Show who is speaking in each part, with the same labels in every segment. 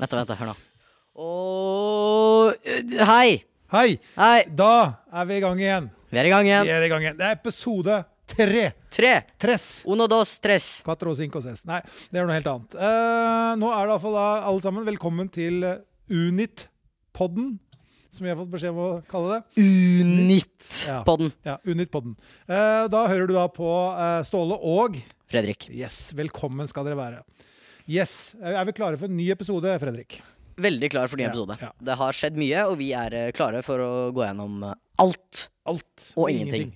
Speaker 1: Vent, da, vent, da, hør nå. Og eh, Hei!
Speaker 2: Hei!
Speaker 1: Hei!
Speaker 2: Da er vi i gang igjen.
Speaker 1: Vi er i gang
Speaker 2: Vi
Speaker 1: igjen.
Speaker 2: er i gang igjen. Det er episode tre.
Speaker 1: Tre.
Speaker 2: Tres.
Speaker 1: Uno, dos, tres.
Speaker 2: Quatro cinco ses. Nei, det er noe helt annet. Eh, nå er det iallfall da alle sammen velkommen til Unit-podden, som vi har fått beskjed om å kalle det. Ja.
Speaker 1: Unit-podden.
Speaker 2: Ja, Unit-podden. Eh, da hører du da på eh, Ståle og
Speaker 1: Fredrik.
Speaker 2: Yes, velkommen skal dere være. Yes. Er vi klare for en ny episode, Fredrik?
Speaker 1: Veldig klar for ny
Speaker 2: Ja,
Speaker 1: episode.
Speaker 2: ja.
Speaker 1: Det har skjedd mye, og vi er eh, klare for å gå gjennom eh, alt.
Speaker 2: Alt
Speaker 1: Og ingenting.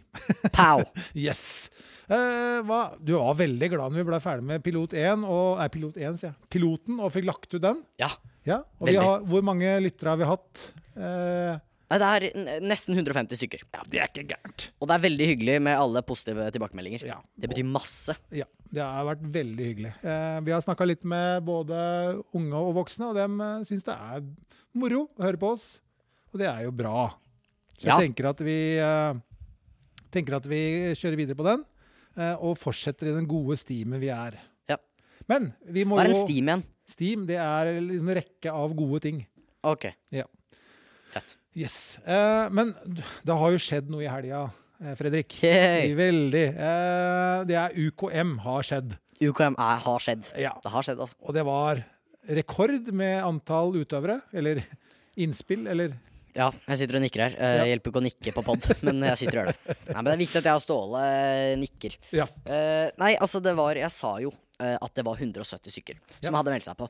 Speaker 1: Pow!
Speaker 2: Yes. Eh, hva? Du var veldig glad når vi ble ferdig med Pilot 1 og, Nei, Pilot 1, sier jeg. Piloten, og fikk lagt ut den.
Speaker 1: Ja.
Speaker 2: Ja, og vi
Speaker 1: Veldig.
Speaker 2: har, Hvor mange lyttere har vi hatt? Eh,
Speaker 1: Nei, det er n- nesten 150 stykker.
Speaker 2: det er ikke gærent.
Speaker 1: Og det er veldig hyggelig med alle positive tilbakemeldinger.
Speaker 2: Ja.
Speaker 1: Det betyr masse.
Speaker 2: Ja, Det har vært veldig hyggelig. Eh, vi har snakka litt med både unge og voksne, og dem eh, syns det er moro å høre på oss. Og det er jo bra. Så
Speaker 1: Ja.
Speaker 2: jeg tenker at, vi, eh, tenker at vi kjører videre på den, eh, og fortsetter i den gode stimen vi er.
Speaker 1: Ja.
Speaker 2: Men vi må
Speaker 1: Hva er en
Speaker 2: jo
Speaker 1: steam igjen?
Speaker 2: Steam, det er liksom en rekke av gode ting.
Speaker 1: Ok,
Speaker 2: Ja.
Speaker 1: fett.
Speaker 2: Yes. Eh, men det har jo skjedd noe i helga, eh, Fredrik.
Speaker 1: Yay.
Speaker 2: Veldig. Eh, det er UKM har skjedd.
Speaker 1: UKM er, har skjedd.
Speaker 2: Ja.
Speaker 1: Det har skjedd, altså.
Speaker 2: Og det var rekord med antall utøvere, eller innspill, eller
Speaker 1: Ja, jeg sitter og nikker her. Eh,
Speaker 2: Ja.
Speaker 1: Hjelper ikke å nikke på pod, men jeg sitter og gjør det. Nei, men det er viktig at jeg og Ståle eh, nikker.
Speaker 2: Ja.
Speaker 1: Eh, nei, altså, det var Jeg sa jo eh, at det var 170 stykker som
Speaker 2: Ja.
Speaker 1: hadde meldt seg på.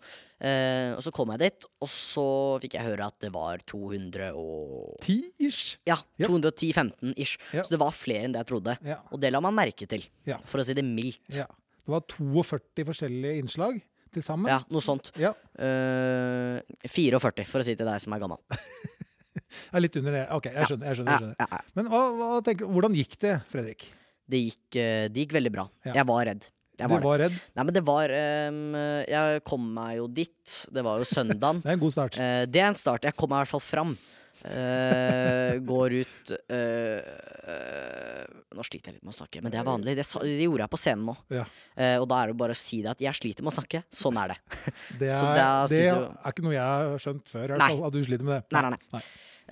Speaker 1: Eh, og så kom jeg dit, og så fikk jeg høre at det var 200 og
Speaker 2: ti-ish.
Speaker 1: Ja,
Speaker 2: Ja.
Speaker 1: 210-15 ish.
Speaker 2: Ja.
Speaker 1: Så det var flere enn det jeg trodde.
Speaker 2: Ja.
Speaker 1: Og det la man merke til,
Speaker 2: Ja.
Speaker 1: for å si det mildt.
Speaker 2: ja. Det var 42 forskjellige innslag til sammen.
Speaker 1: Ja, noe sånt.
Speaker 2: Ja,
Speaker 1: Eh, 44, for å si til deg som er gammel.
Speaker 2: jeg er litt under det. Ok, jeg skjønner. jeg skjønner,
Speaker 1: Ja,
Speaker 2: jeg skjønner.
Speaker 1: ja, ja.
Speaker 2: Men hva, hva tenker, hvordan gikk det, Fredrik?
Speaker 1: Det gikk, eh, det gikk veldig bra.
Speaker 2: Ja.
Speaker 1: Jeg var redd. Jeg
Speaker 2: Du
Speaker 1: var det.
Speaker 2: var redd?
Speaker 1: Nei, men det var ehm, Jeg kom meg jo dit. Det var jo søndagen.
Speaker 2: Det er en god start.
Speaker 1: Eh, det er en start. Jeg kom meg i hvert fall fram. Eh, går ut eh, eh, Nå sliter jeg litt med å snakke, men det er vanlig. Det, sa, det gjorde jeg på scenen nå.
Speaker 2: Ja.
Speaker 1: Eh, og da er det jo bare å si det at jeg sliter med å snakke. Sånn er det.
Speaker 2: Det
Speaker 1: Så
Speaker 2: er,
Speaker 1: det er-
Speaker 2: det
Speaker 1: synes
Speaker 2: er,
Speaker 1: jo-
Speaker 2: ikke noe jeg har skjønt før, i hvert
Speaker 1: Nei.
Speaker 2: fall, at du sliter med det.
Speaker 1: Nei, nei, nei.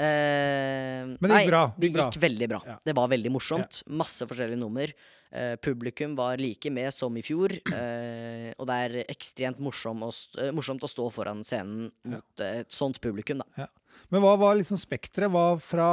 Speaker 1: Eh,
Speaker 2: Men det gikk
Speaker 1: nei,
Speaker 2: bra, det
Speaker 1: Det
Speaker 2: gikk
Speaker 1: gikk
Speaker 2: bra.
Speaker 1: veldig bra.
Speaker 2: Ja.
Speaker 1: Det var veldig morsomt. Masse forskjellige nummer. Eh, publikum var like med som i fjor. Eh, og det er ekstremt morsom å st eh, morsomt å stå foran scenen mot eh, et sånt publikum, da.
Speaker 2: Men hva var liksom spekteret? Hva fra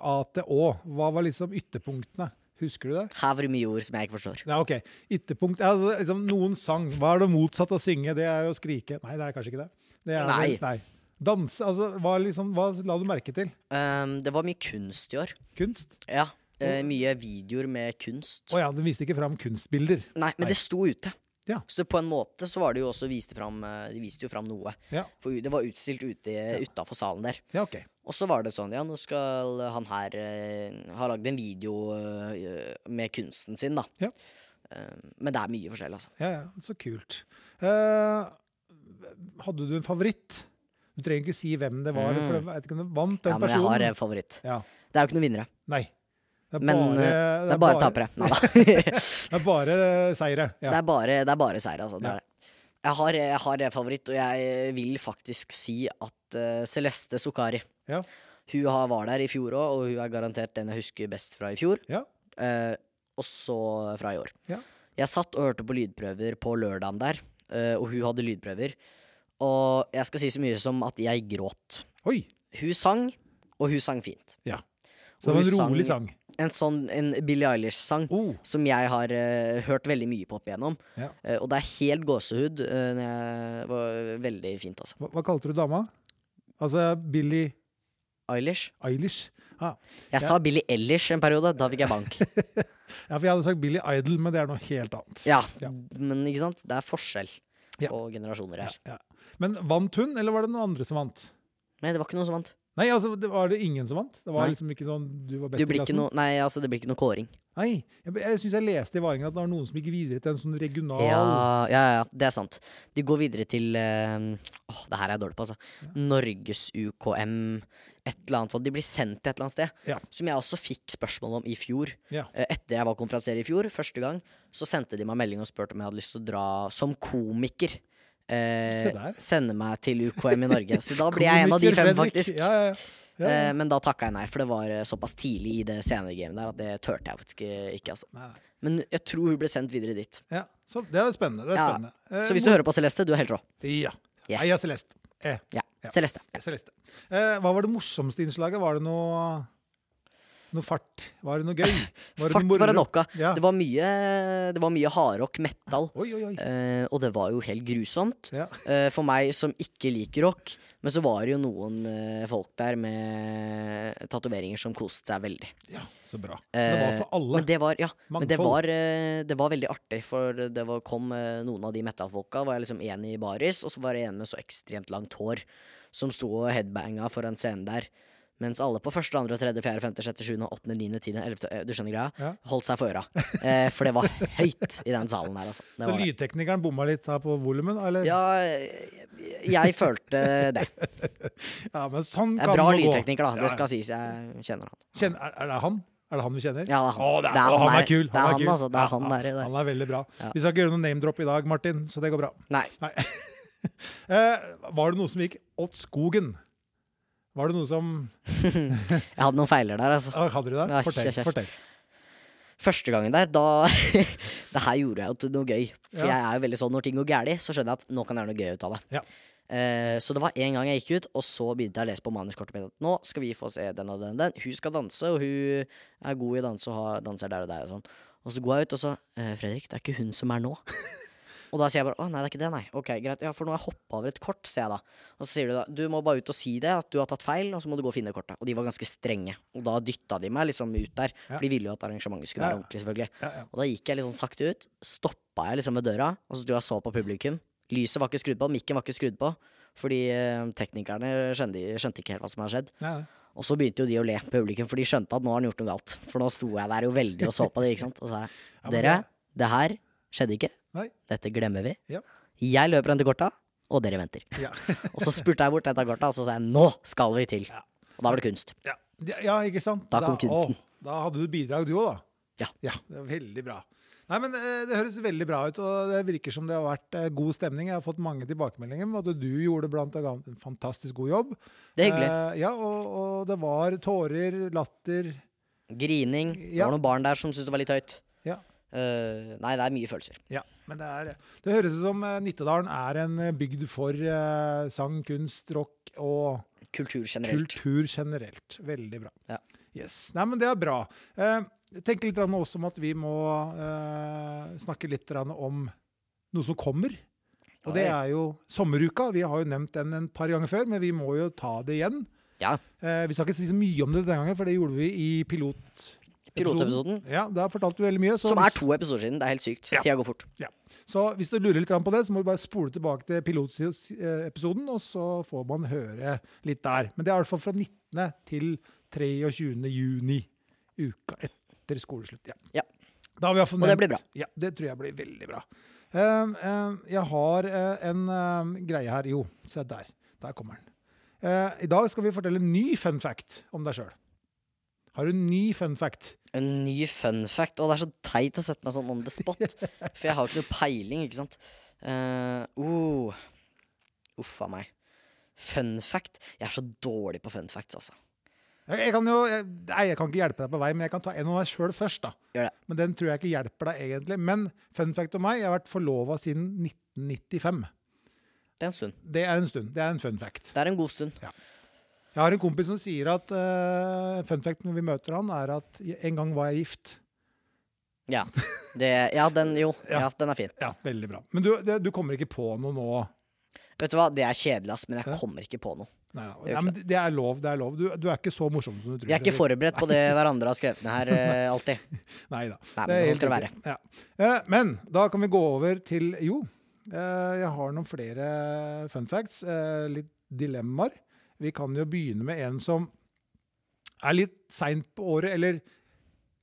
Speaker 2: A til Å? Hva var liksom ytterpunktene? Husker du det?
Speaker 1: Her var det mye ord som jeg ikke forstår.
Speaker 2: Ja, ok. Ytterpunkt altså, liksom, Noen sang. Hva er det motsatt av å synge? Det er jo å skrike. Nei, det er kanskje ikke det. det er
Speaker 1: Nei.
Speaker 2: Vel, nei. Danse. Altså, hva, liksom, hva la du merke til?
Speaker 1: Ehm, det var mye kunst i år.
Speaker 2: Kunst?
Speaker 1: Ja. eh, mye videoer med kunst.
Speaker 2: Å ja, du viste ikke fram kunstbilder.
Speaker 1: Nei, men
Speaker 2: Nei.
Speaker 1: det sto ute.
Speaker 2: Ja.
Speaker 1: Så på en måte så var det jo også viste fram, eh, de viste jo fram noe.
Speaker 2: Ja,
Speaker 1: For u- det var utstilt ute utafor salen der.
Speaker 2: ja ok.
Speaker 1: Og så var det sånn, ja, nå skal han her eh, ha lagd en video eh, med kunsten sin, da.
Speaker 2: Ja.
Speaker 1: Eh, men det er mye forskjell, altså.
Speaker 2: Ja, ja. Så kult. Eh, hadde du en favoritt? Du trenger ikke si hvem det var, for jeg vet ikke om du vant den
Speaker 1: Mm. Ja, men jeg
Speaker 2: personen.
Speaker 1: har eh, favoritt.
Speaker 2: Ja.
Speaker 1: Det er jo ikke noen vinnere.
Speaker 2: Nei. Det er
Speaker 1: Men
Speaker 2: bare,
Speaker 1: eh, det er bare tapere. Nei da. det,
Speaker 2: Det er bare seire. Ja.
Speaker 1: er bare, det er bare seier, altså. Det
Speaker 2: Ja.
Speaker 1: er det. Jeg har, jeg har eh, favoritt, og jeg vil faktisk si at eh, Celeste Sukari
Speaker 2: Ja.
Speaker 1: Hun har, var der i fjor òg, og hun er garantert den jeg husker best fra i fjor.
Speaker 2: Ja.
Speaker 1: Eh, og så fra i år.
Speaker 2: Ja.
Speaker 1: Jeg satt og hørte på lydprøver på lørdagen der, eh, og hun hadde lydprøver. Og jeg skal si så mye som at jeg gråt.
Speaker 2: Oi!
Speaker 1: Hun sang, og hun sang fint.
Speaker 2: Ja. Så det var en
Speaker 1: Hun
Speaker 2: rolig sang.
Speaker 1: En sånn en Billie Eilish-sang.
Speaker 2: Oh,
Speaker 1: Som jeg har eh, hørt veldig mye på opp igjennom.
Speaker 2: Ja.
Speaker 1: Eh, og det er helt gåsehud. eh, når jeg var veldig fint, altså.
Speaker 2: hva, hva kalte du dama? Altså Billie
Speaker 1: Eilish.
Speaker 2: Eilish? Ah,
Speaker 1: Jeg sa Billie Eilish en periode. Da fikk jeg bank.
Speaker 2: ja, for jeg hadde sagt Billie Idol, men det er noe helt annet.
Speaker 1: Ja,
Speaker 2: Ja.
Speaker 1: Men ikke sant? det er forskjell
Speaker 2: Ja.
Speaker 1: på generasjoner her.
Speaker 2: Ja. Men vant hun, eller var det noen andre som vant?
Speaker 1: Nei, det var ikke noen som vant.
Speaker 2: Nei, altså, det var det ingen som vant? Det var
Speaker 1: Nei.
Speaker 2: liksom ikke noen du var best
Speaker 1: Du
Speaker 2: i
Speaker 1: blir ikke
Speaker 2: klassen?
Speaker 1: noe, nei, altså, det blir ikke noe kåring.
Speaker 2: Nei. Jeg, jeg syns jeg leste i Varingen at det var noen som gikk videre til en sånn regional
Speaker 1: Ja, ja, ja, det er sant. De går videre til eh, Åh, det her er jeg dårlig på, altså. Norges-UKM, et eller annet sånt. De blir sendt til et eller annet sted.
Speaker 2: Ja.
Speaker 1: Som jeg også fikk spørsmål om i fjor.
Speaker 2: Ja.
Speaker 1: Eh, Etter jeg var konferansier i fjor, første gang, så sendte de meg melding og spurte om jeg hadde lyst til å dra som komiker
Speaker 2: Se
Speaker 1: eh,
Speaker 2: der.
Speaker 1: sende meg til UKM i Norge. Så da blir jeg en av de fem,
Speaker 2: Komiker Fredrik.
Speaker 1: faktisk.
Speaker 2: Ja, ja, ja. ja.
Speaker 1: Eh, men da takka jeg nei, for det var eh, såpass tidlig i det senere gamet der at det turte jeg faktisk eh, ikke. Altså.
Speaker 2: Nei.
Speaker 1: Men jeg tror hun ble sendt videre dit.
Speaker 2: ja. Så det er spennende. Det er
Speaker 1: Ja.
Speaker 2: spennende. Eh,
Speaker 1: Så hvis du hører på Celeste, du er helt rå.
Speaker 2: Ja.
Speaker 1: Ja.
Speaker 2: Nei, jeg har Celeste. Eh,
Speaker 1: Ja.
Speaker 2: Ja.
Speaker 1: Celeste.
Speaker 2: jeg har Celeste. Eh, hva var det morsomste innslaget? Var det noe noe fart? Var det noe gøy? Var det noe
Speaker 1: Fart var
Speaker 2: moro?
Speaker 1: det nok av.
Speaker 2: Ja.
Speaker 1: Det var mye, det var mye hardrock, metal,
Speaker 2: Oi, oi, oi.
Speaker 1: eh, og det var jo helt grusomt.
Speaker 2: Ja.
Speaker 1: Eh, for meg som ikke liker rock. Men så var det jo noen eh, folk der med tatoveringer som koste seg veldig.
Speaker 2: ja, så bra. Så det var for alle.
Speaker 1: Eh, Men det var, ja, men det
Speaker 2: Mangfold.
Speaker 1: var, eh, det var veldig artig, for det var, kom eh, noen av de metal-folka, var jeg liksom enig i baris, og så var det en med så ekstremt langt hår som sto og headbanga foran scenen der. Mens alle på første, andre, tredje, fjerde, femte, sjette, sjuende, åttende, niende, tiende, ellevte eh, Du skjønner greia?
Speaker 2: Ja.
Speaker 1: Holdt seg for øra. Eh, for det var høyt i den salen her, altså. Det
Speaker 2: så
Speaker 1: var det.
Speaker 2: lydteknikeren bomma litt her på volumen, eller?
Speaker 1: Ja, jeg, jeg følte det.
Speaker 2: Ja, men sånn
Speaker 1: Jeg er
Speaker 2: kan
Speaker 1: bra
Speaker 2: det gå.
Speaker 1: lydtekniker, da.
Speaker 2: Ja,
Speaker 1: Det skal sies. Jeg kjenner han.
Speaker 2: Kjenn- er, er det han? Er det han vi kjenner?
Speaker 1: Ja, det er han.
Speaker 2: Å, det er,
Speaker 1: Det er han
Speaker 2: å, han,
Speaker 1: der.
Speaker 2: er kul.
Speaker 1: Det er han, altså. Det er
Speaker 2: Ja,
Speaker 1: han der i det.
Speaker 2: Han er veldig bra.
Speaker 1: Ja.
Speaker 2: Vi skal ikke gjøre noen name-drop i dag, Martin, så det går bra.
Speaker 1: Nei.
Speaker 2: Nei. eh, var det noe som gikk åt skogen? Var det noe som
Speaker 1: Jeg hadde noen feiler der, altså.
Speaker 2: ah, Hadde du det?
Speaker 1: Nei,
Speaker 2: Fortell.
Speaker 1: kjæ- kjæ-
Speaker 2: fortell.
Speaker 1: Første gangen der, da Det her gjorde jeg jo til noe gøy. For
Speaker 2: Ja.
Speaker 1: jeg er jo veldig sånn når ting går gærent, så skjønner jeg at nå kan jeg gjøre noe gøy ut av det.
Speaker 2: Ja.
Speaker 1: Eh, så det var en gang jeg gikk ut, og så begynte jeg å lese på manuskortet mitt at nå skal vi få se den og den og den. Hun skal danse, og hun er god i å danse og har- danser der og der og sånn. Og så går jeg ut, og så eh, Fredrik, det er ikke hun som er nå. Og da sier jeg bare å nei, det er ikke det, nei. Ok, greit, ja, for nå har jeg hoppa over et kort, sier jeg da. Og så sier du da du må bare ut og si det, at du har tatt feil, og så må du gå og finne det kortet. Og de var ganske strenge. Og da dytta de meg liksom ut der,
Speaker 2: Ja.
Speaker 1: for de ville jo at arrangementet skulle
Speaker 2: Ja,
Speaker 1: være
Speaker 2: ja.
Speaker 1: ordentlig, selvfølgelig.
Speaker 2: Ja, ja.
Speaker 1: Og da gikk jeg litt sånn sakte ut, stoppa jeg liksom ved døra, og så sto jeg og så på publikum. Lyset var ikke skrudd på, mikken var ikke skrudd på, fordi eh, teknikerne skjønte, skjønte ikke helt hva som hadde skjedd.
Speaker 2: Ja,
Speaker 1: Og så begynte jo de å le, publikum, for de skjønte at nå har han gjort noe galt. For nå sto jeg der jo veldig og så på det, ikke sant. Og sa jeg,
Speaker 2: Ja, men
Speaker 1: dere, det her skjedde ikke.
Speaker 2: Nei.
Speaker 1: Dette glemmer vi.
Speaker 2: Ja.
Speaker 1: Jeg løper hen til korta, og dere venter.
Speaker 2: Ja.
Speaker 1: og så spurte jeg bort dette korta, og så sa jeg nå skal vi til.
Speaker 2: Ja.
Speaker 1: Og da var det kunst.
Speaker 2: Ja, ja, ja ikke sant?
Speaker 1: Da kom kunsten.
Speaker 2: å, da hadde du bidrag, du òg, da.
Speaker 1: Ja.
Speaker 2: det var Veldig bra. Nei, men eh, Det høres veldig bra ut, og det virker som det har vært eh, god stemning. Jeg har fått mange tilbakemeldinger om at du gjorde blant annet en fantastisk god jobb.
Speaker 1: Det er hyggelig.
Speaker 2: Eh, ja, og, og det var tårer, latter
Speaker 1: Grining. Det
Speaker 2: Eh, Ja.
Speaker 1: var noen barn der som syntes det var litt høyt.
Speaker 2: Ja.
Speaker 1: Eh, nei, det er mye følelser.
Speaker 2: Ja, men det, er, det høres ut som eh, Nittedalen er en eh, bygd for eh, sang, kunst, rock og
Speaker 1: Kultur generelt.
Speaker 2: kultur generelt. Veldig bra.
Speaker 1: Ja.
Speaker 2: Yes. Nei, men det er bra. Eh, jeg tenker litt grann også om at vi må eh, snakke litt grann om noe som kommer. Og det
Speaker 1: Ja,
Speaker 2: er jo sommeruka. Vi har jo nevnt den en par ganger før, men vi må jo ta det igjen.
Speaker 1: Ja.
Speaker 2: Eh, vi skal ikke si så mye om det denne gangen, for det gjorde vi i pilot...
Speaker 1: Pilotepisoden.
Speaker 2: Ja, der fortalte vi veldig mye. så
Speaker 1: Som
Speaker 2: hvis-
Speaker 1: er to episoder siden. Det er helt sykt.
Speaker 2: Ja.
Speaker 1: Tida går fort.
Speaker 2: så hvis du lurer litt grann på det, så må du bare spole tilbake til pilotepisoden, og så får man høre litt der. Men det er i hvert fall fra 19. til 23. juni, uka etter skoleslutt. Ja.
Speaker 1: Ja.
Speaker 2: Da har vi i hvert fall
Speaker 1: Og det
Speaker 2: nevnt-
Speaker 1: blir bra.
Speaker 2: Ja, det tror jeg blir veldig bra. Um, um, jeg har eh, en um, greie her. Jo, se der. Der kommer den. Eh, I dag skal vi fortelle en ny fun fact om deg sjøl. Har du en ny fun fact?
Speaker 1: En ny fun fact. Og det er så teit å sette meg sånn on the spot. For jeg har jo ikke noe peiling, ikke sant. Eh, oh. Uff a meg. Fun fact. Jeg er så dårlig på fun facts, altså.
Speaker 2: Jeg, jeg kan jo, jeg, nei, jeg kan ikke hjelpe deg på vei, men jeg kan ta en av meg sjøl først. da.
Speaker 1: Gjør det.
Speaker 2: Men den tror jeg ikke hjelper deg egentlig. Men fun fact om meg, jeg har vært forlova siden 1995.
Speaker 1: Det er en stund.
Speaker 2: Det er en stund. Det er en fun fact.
Speaker 1: Det er en god stund.
Speaker 2: Jeg har en kompis som sier at eh, fun fact når vi møter han, er at en gang var jeg gift.
Speaker 1: Ja. Det, ja, den jo.
Speaker 2: Ja.
Speaker 1: Ja, den er fin.
Speaker 2: Ja, veldig bra. Men du, det, du kommer ikke på noe nå?
Speaker 1: Vet du hva, det er kjedelig, ass, men
Speaker 2: Ja.
Speaker 1: jeg kommer ikke på noe.
Speaker 2: Nei,
Speaker 1: er jo
Speaker 2: nei, men det er lov. det er lov. Du, du er ikke så morsom som du tror.
Speaker 1: Vi er ikke forberedt på det hverandre har skrevet ned her, eh, alltid.
Speaker 2: Nei da.
Speaker 1: Nei, men sånn skal det være.
Speaker 2: Ja. Eh, Men da kan vi gå over til Jo, eh, jeg har noen flere fun facts. eh, Litt dilemmaer. Vi kan jo begynne med en som er litt seint på året, eller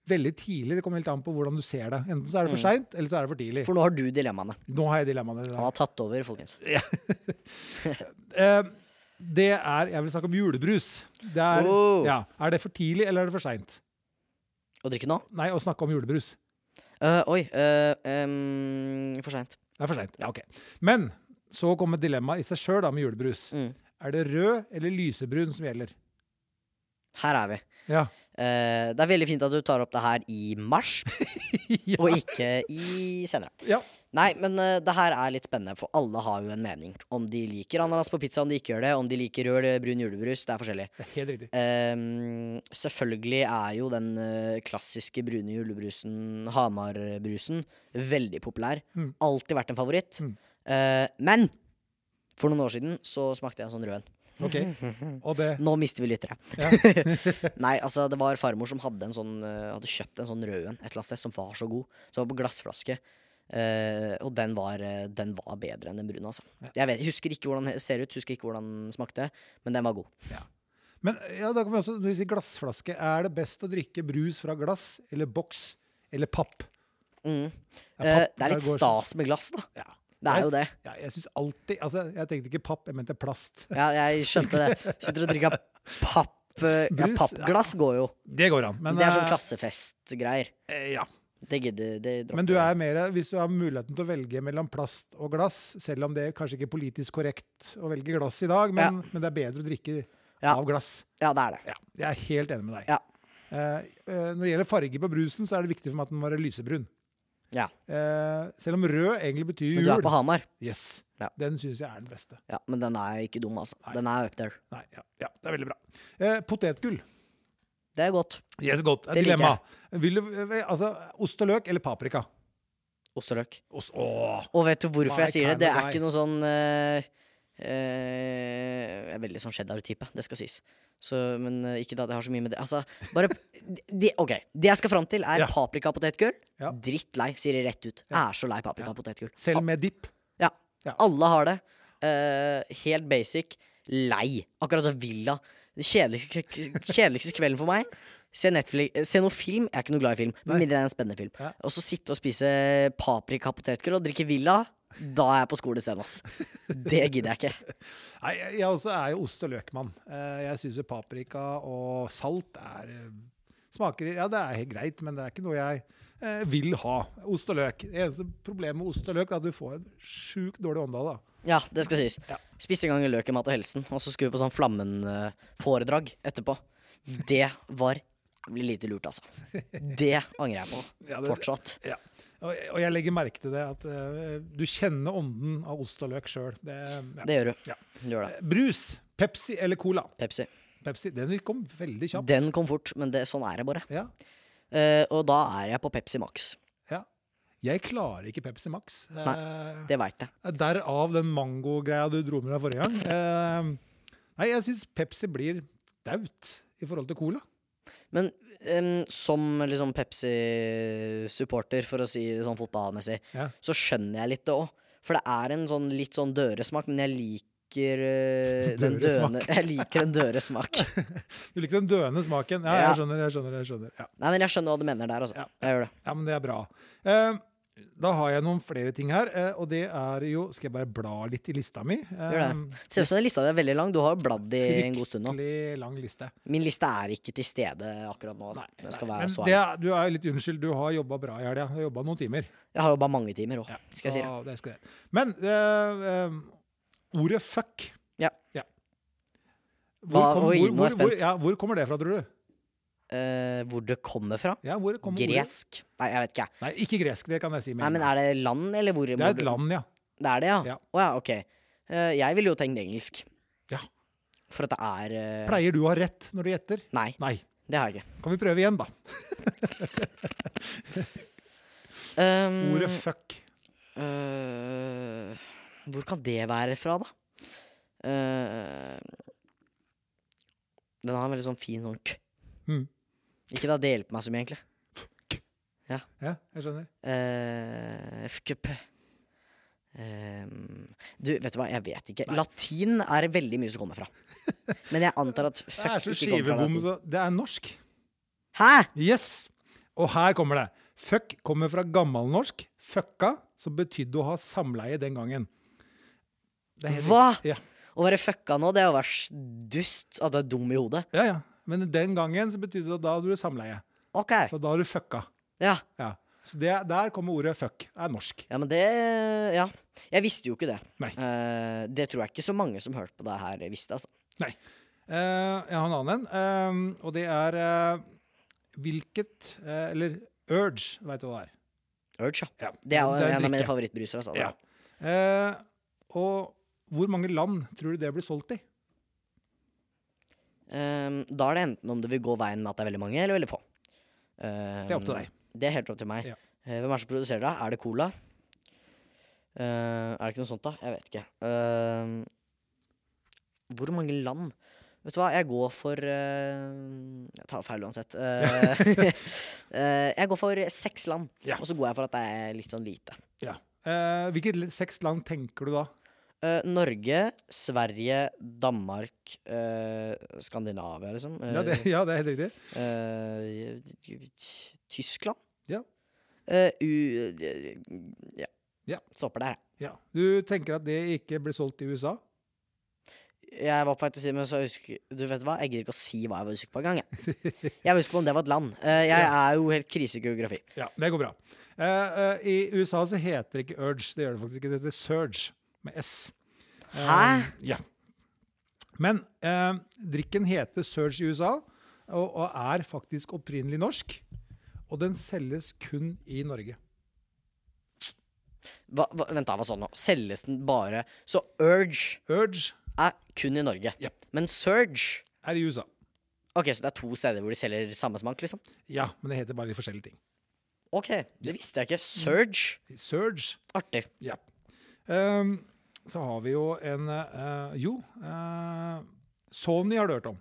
Speaker 2: veldig tidlig. Det kommer helt an på hvordan du ser det. Enten så er det for seint, eller så er det for tidlig.
Speaker 1: Mm. For nå har du dilemmaene.
Speaker 2: Nå har jeg dilemmaene. i
Speaker 1: Han
Speaker 2: dag.
Speaker 1: har tatt over, folkens.
Speaker 2: Eh, Det er Jeg vil snakke om julebrus. Det er,
Speaker 1: Oh.
Speaker 2: ja, er det for tidlig, eller er det for seint?
Speaker 1: Å drikke nå?
Speaker 2: Nei, å snakke om julebrus.
Speaker 1: Eh, oi. eh, em, for seint.
Speaker 2: Det er for seint. Ja, ok. Men Så kommer dilemmaet i seg sjøl med julebrus.
Speaker 1: Mm.
Speaker 2: Er det rød eller lysebrun som gjelder?
Speaker 1: Her er vi.
Speaker 2: Ja.
Speaker 1: Eh, det er veldig fint at du tar opp det her i mars,
Speaker 2: ja.
Speaker 1: og ikke i senere.
Speaker 2: ja.
Speaker 1: Nei, men eh, det her er litt spennende, for alle har jo en mening. Om de liker ananas på pizza, om de ikke gjør det, om de liker rød eller brun julebrus. Det er forskjellig.
Speaker 2: Det er helt riktig.
Speaker 1: Ehm, selvfølgelig er jo den eh, klassiske brune julebrusen, Hamar-brusen, veldig populær.
Speaker 2: Mm.
Speaker 1: Alltid vært en favoritt.
Speaker 2: Mm.
Speaker 1: Eh, men for noen år siden så smakte jeg en sånn rød en.
Speaker 2: Ok. Og det
Speaker 1: Nå mister vi lyttere.
Speaker 2: Ja.
Speaker 1: Nei, altså, det var farmor som hadde, en sånn, eh, hadde kjøpt en sånn rød en et eller annet sted, som var så god. Som var på glassflaske. Eh, og den var, eh, den var bedre enn den brune, altså. Jeg vet, husker ikke hvordan den ser ut, husker ikke hvordan den smakte, men den var god.
Speaker 2: Men ja, da kan vi også, når vi sier glassflaske, er det best å drikke brus fra glass eller boks eller papp?
Speaker 1: Mm.
Speaker 2: Ja,
Speaker 1: Eh,
Speaker 2: papp,
Speaker 1: det er litt
Speaker 2: går-
Speaker 1: stas med glass, da.
Speaker 2: Ja.
Speaker 1: Det er jo det.
Speaker 2: Ja, jeg syns alltid Altså, jeg tenkte ikke papp, jeg mente plast.
Speaker 1: Ja, jeg skjønte det. Sitter og drikker papp... eh, Ja,
Speaker 2: Brus,
Speaker 1: pappglass går jo.
Speaker 2: Det går an. Men,
Speaker 1: det er
Speaker 2: eh,
Speaker 1: sånn klassefestgreier.
Speaker 2: eh, ja.
Speaker 1: Det gidder det dropper
Speaker 2: men du
Speaker 1: jeg.
Speaker 2: er mer, hvis du har muligheten til å velge mellom plast og glass, selv om det er kanskje ikke er politisk korrekt å velge glass i dag, men, men det er bedre å drikke
Speaker 1: Ja.
Speaker 2: av glass.
Speaker 1: Ja, det er det.
Speaker 2: Ja, jeg er helt enig med deg.
Speaker 1: Ja.
Speaker 2: Eh, eh, når det gjelder farge på brusen, så er det viktig for meg at den må være lysebrun.
Speaker 1: Ja.
Speaker 2: Eh, selv om rød egentlig betyr jul.
Speaker 1: Men du er på Hamar.
Speaker 2: Yes.
Speaker 1: Ja.
Speaker 2: Den syns jeg er den beste.
Speaker 1: Ja, men den er ikke dum, altså. Den er up there.
Speaker 2: Nei, ja, ja, det er veldig bra. Eh, potetgull.
Speaker 1: Det er godt.
Speaker 2: Yes, godt.
Speaker 1: Det liker
Speaker 2: Dilemma. Vil du, eh, altså, ost og løk eller paprika?
Speaker 1: Ost og løk.
Speaker 2: Ost, åh.
Speaker 1: Og vet du hvorfor
Speaker 2: My
Speaker 1: jeg sier det?
Speaker 2: kind
Speaker 1: Det
Speaker 2: of
Speaker 1: er
Speaker 2: guy.
Speaker 1: ikke noe sånn eh, eh, Jeg er veldig sånn cheddar-type, det skal sies. Så, men eh, ikke da det har så mye med det Altså, bare de, OK. Det jeg skal fram til, er
Speaker 2: Ja.
Speaker 1: paprika og potetgull.
Speaker 2: Ja.
Speaker 1: Drittlei, sier de rett ut. Er så lei paprika og potetgull.
Speaker 2: Selv med dipp.
Speaker 1: Ja.
Speaker 2: Ja.
Speaker 1: Alle har det. Eh, helt basic. Lei. Akkurat som Villa. Det kjedeligste, kjedeligste kvelden for meg. Se, Netflix, eh, se noe film. Jeg er ikke noe glad i film. Med
Speaker 2: Nei.
Speaker 1: mindre det er en spennende film.
Speaker 2: Ja.
Speaker 1: Og så sitte og spise paprika, potetgull og drikke Villa. Da er jeg på skolestedet, ass. Det gidder jeg ikke.
Speaker 2: Nei, jeg, jeg også er jo ost- og løkmann. Eh, jeg syns jo paprika og salt er eh, Smaker Ja, det er helt greit, men det er ikke noe jeg eh, vil ha. Ost og løk. Det eneste problemet med ost og løk er at du får en sjukt dårlig ånde av det. da.
Speaker 1: Ja, det skal sies.
Speaker 2: Ja.
Speaker 1: Spiste en gang løk i Mat og Helsen, og så skulle vi på sånn Flammen-foredrag etterpå. Det var lite lurt, altså. Det angrer jeg på.
Speaker 2: Ja, det-
Speaker 1: Fortsatt.
Speaker 2: Ja. Og, og jeg legger merke til det, at eh, du kjenner ånden av ost og løk sjøl. Ja.
Speaker 1: Det gjør du.
Speaker 2: Ja.
Speaker 1: Du gjør det.
Speaker 2: Eh, Brus, Pepsi eller Cola?
Speaker 1: Pepsi.
Speaker 2: Pepsi, den kom veldig kjapt.
Speaker 1: Den kom fort, men det, sånn er det bare.
Speaker 2: Ja,
Speaker 1: Eh, og da er jeg på Pepsi Max.
Speaker 2: ja. Jeg klarer ikke Pepsi Max. Eh,
Speaker 1: Det veit jeg.
Speaker 2: Derav den mangogreia du dro med deg forrige gang. Eh, nei, jeg syns Pepsi blir daut i forhold til Cola.
Speaker 1: Men em, som liksom Pepsi-supporter, for å si det sånn fotballmessig,
Speaker 2: Ja.
Speaker 1: så skjønner jeg litt det òg. For det er en sånn litt sånn døresmak, men jeg liker eh, den
Speaker 2: Døresmak.
Speaker 1: døende Jeg liker en døresmak.
Speaker 2: Du liker den døende smaken. Ja,
Speaker 1: Ja.
Speaker 2: jeg skjønner, jeg skjønner. jeg skjønner. Ja.
Speaker 1: Nei, men jeg skjønner hva du mener der, altså.
Speaker 2: Ja.
Speaker 1: Jeg gjør det.
Speaker 2: Ja, men det er bra. Eh, da har jeg noen flere ting her, eh, og det er jo Skal jeg bare bla litt i lista mi? Eh,
Speaker 1: Gjør Ser ut som den lista di er veldig lang. Du har jo bladd i en god stund nå.
Speaker 2: Fryktelig lang liste.
Speaker 1: Min liste er ikke til stede akkurat nå. Altså.
Speaker 2: Nei,
Speaker 1: Den skal
Speaker 2: nei,
Speaker 1: være
Speaker 2: men
Speaker 1: så
Speaker 2: det
Speaker 1: ærlig.
Speaker 2: er, du er jo litt unnskyld, du har jobba bra i helga. Du har jobba noen timer.
Speaker 1: Jeg har jo bare mange timer òg, skal jeg si det.
Speaker 2: så det skal jeg. Men eh, eh, ordet fuck
Speaker 1: Ja.
Speaker 2: Hvor,
Speaker 1: Hva-
Speaker 2: kom,
Speaker 1: oi, nå er
Speaker 2: hvor, hvor,
Speaker 1: jeg
Speaker 2: hvor,
Speaker 1: spent.
Speaker 2: ja, hvor kommer det fra, tror du?
Speaker 1: Eh, hvor det kommer fra?
Speaker 2: Ja, hvor kommer ordet-
Speaker 1: Gresk? Nei, jeg vet ikke. jeg.
Speaker 2: Nei, ikke gresk, det kan jeg si. med
Speaker 1: Nei,
Speaker 2: en
Speaker 1: men
Speaker 2: gang.
Speaker 1: Er det land, eller hvor?
Speaker 2: det er et land, ja.
Speaker 1: Det er det, ja? Å
Speaker 2: Ja.
Speaker 1: ja. ok. Eh, jeg ville jo tenkt engelsk.
Speaker 2: Ja.
Speaker 1: For at det er eh,
Speaker 2: Pleier du å ha rett når du gjetter?
Speaker 1: Nei,
Speaker 2: Nei.
Speaker 1: det har jeg ikke.
Speaker 2: Kan vi prøve igjen, da?
Speaker 1: Um,
Speaker 2: Ordet fuck.
Speaker 1: øh, Hvor kan det være fra, da? Eh, den har en veldig sånn fin sånn k.
Speaker 2: Mm.
Speaker 1: Ikke da det hjelper meg så mye, egentlig.
Speaker 2: Ja, jeg skjønner.
Speaker 1: Eh, FKP. Ehm, du, vet du hva, jeg vet ikke. Latin er veldig mye som kommer fra. Men jeg antar at
Speaker 2: Det
Speaker 1: fuck
Speaker 2: er så
Speaker 1: ikke kommer fra
Speaker 2: skivebom,
Speaker 1: latin.
Speaker 2: så Det er norsk.
Speaker 1: Hæ?!
Speaker 2: Yes! Og her kommer det. Fuck kommer fra gammelnorsk. Fucka, som betydde å ha samleie den gangen. Det er helt
Speaker 1: Hva?!
Speaker 2: riktig. Ja.
Speaker 1: Å være fucka nå, det er å være s- dust. At du er dum i hodet.
Speaker 2: Ja, ja. Men den gangen så betydde det at da hadde du samleie.
Speaker 1: OK.
Speaker 2: Så da har du fucka.
Speaker 1: Ja.
Speaker 2: Ja. Så det, der kommer ordet fuck. Det er norsk.
Speaker 1: Ja, men det Ja. Jeg visste jo ikke det.
Speaker 2: Nei.
Speaker 1: Eh, det tror jeg ikke så mange som hørte på det her, visste, altså.
Speaker 2: Eh, jeg har en annen en, eh, og det er eh, hvilket eh, Eller urge, veit du hva det er?
Speaker 1: Urge, ja.
Speaker 2: Ja,
Speaker 1: Det er jo
Speaker 2: det
Speaker 1: en
Speaker 2: er
Speaker 1: av mine
Speaker 2: drikke.
Speaker 1: favorittbruser, altså.
Speaker 2: Ja. Eh, og hvor mange land tror du det blir solgt i?
Speaker 1: Ehm, da er det enten om det vil gå veien med at det er veldig mange, eller veldig få. Ehm,
Speaker 2: Det er opp til deg.
Speaker 1: Det er helt opp til meg.
Speaker 2: Ja.
Speaker 1: Eh, hvem er det som produserer det? Er det Cola? Ehm, er det ikke noe sånt, da? Jeg vet ikke. Ehm, hvor mange land? Vet du hva, jeg går for ehm, Jeg tar feil uansett. Eh, eh, jeg går for seks land,
Speaker 2: Ja.
Speaker 1: og så går jeg for at det er litt sånn lite.
Speaker 2: Eh, hvilket l- seks land tenker du da?
Speaker 1: Eh, Norge, Sverige, Danmark, eh, Skandinavia, liksom.
Speaker 2: Ja, det,
Speaker 1: Eh,
Speaker 2: ja, det er helt riktig.
Speaker 1: Eh, Tyskland?
Speaker 2: Ja.
Speaker 1: Eh, u, ja.
Speaker 2: Ja.
Speaker 1: Stopper der.
Speaker 2: Ja. Du tenker at det ikke blir solgt i USA?
Speaker 1: Jeg var på vei til å si men så husker, Du vet hva, jeg gidder ikke å si hva jeg var usikker på engang. jeg. Jeg var usikker på om det var et land. Eh, jeg er jo helt krisegeografi.
Speaker 2: Ja, det går bra. Eh, eh, I USA så heter det ikke urge, det gjør det faktisk ikke. Det heter surge, med S. Eh,
Speaker 1: Hæ?
Speaker 2: ja. Men eh, drikken heter surge i USA, og, og er faktisk opprinnelig norsk. Og den selges kun i Norge.
Speaker 1: Hva, hva, vent, da, hva sånn nå? Selges den bare Så Urge
Speaker 2: Urge
Speaker 1: er kun i Norge.
Speaker 2: Jepp.
Speaker 1: Men Surge
Speaker 2: er i USA.
Speaker 1: Ok, Så det er to steder hvor de selger samme smak, liksom?
Speaker 2: Ja, men det heter bare litt forskjellige ting.
Speaker 1: Ok, det visste jeg ikke. Surge.
Speaker 2: Surge
Speaker 1: Artig.
Speaker 2: Ja. Ehm, så har vi jo en eh, Jo, eh, Sony har du hørt om.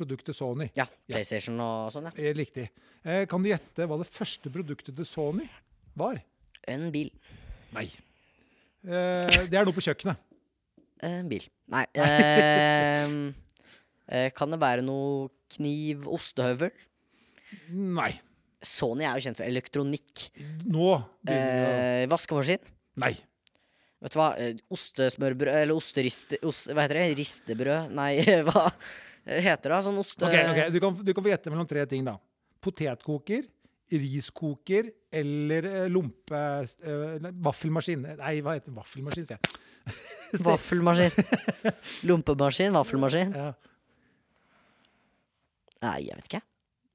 Speaker 2: Produktet Sony.
Speaker 1: Ja.
Speaker 2: Ja.
Speaker 1: PlayStation og sånn, ja.
Speaker 2: Eh, Riktig. Eh, kan du gjette hva det første produktet til Sony var?
Speaker 1: En bil.
Speaker 2: Nei. Eh, det er noe på kjøkkenet. Eh,
Speaker 1: En bil. Nei. ehm, eh, kan det være noe kniv, ostehøvel?
Speaker 2: Nei.
Speaker 1: Sony er jo kjent for elektronikk.
Speaker 2: Nå begynner vi å
Speaker 1: Eh, vaskemaskin.
Speaker 2: Nei.
Speaker 1: Vet du hva? Eh, Ostesmørbrød Eller osteriste... Ost, hva heter det? Ristebrød? Nei, hva heter det? Sånn oste...
Speaker 2: Ok, ok, Du, kan, du kan få gjette mellom tre ting, da. Potetkoker, riskoker eller eh, lompe... eh, nei, vaffelmaskin. Nei, hva heter vaffelmaskin, sier jeg.
Speaker 1: Vaffelmaskin. Lompemaskin? Vaffelmaskin?
Speaker 2: Ja.
Speaker 1: Nei, jeg vet ikke.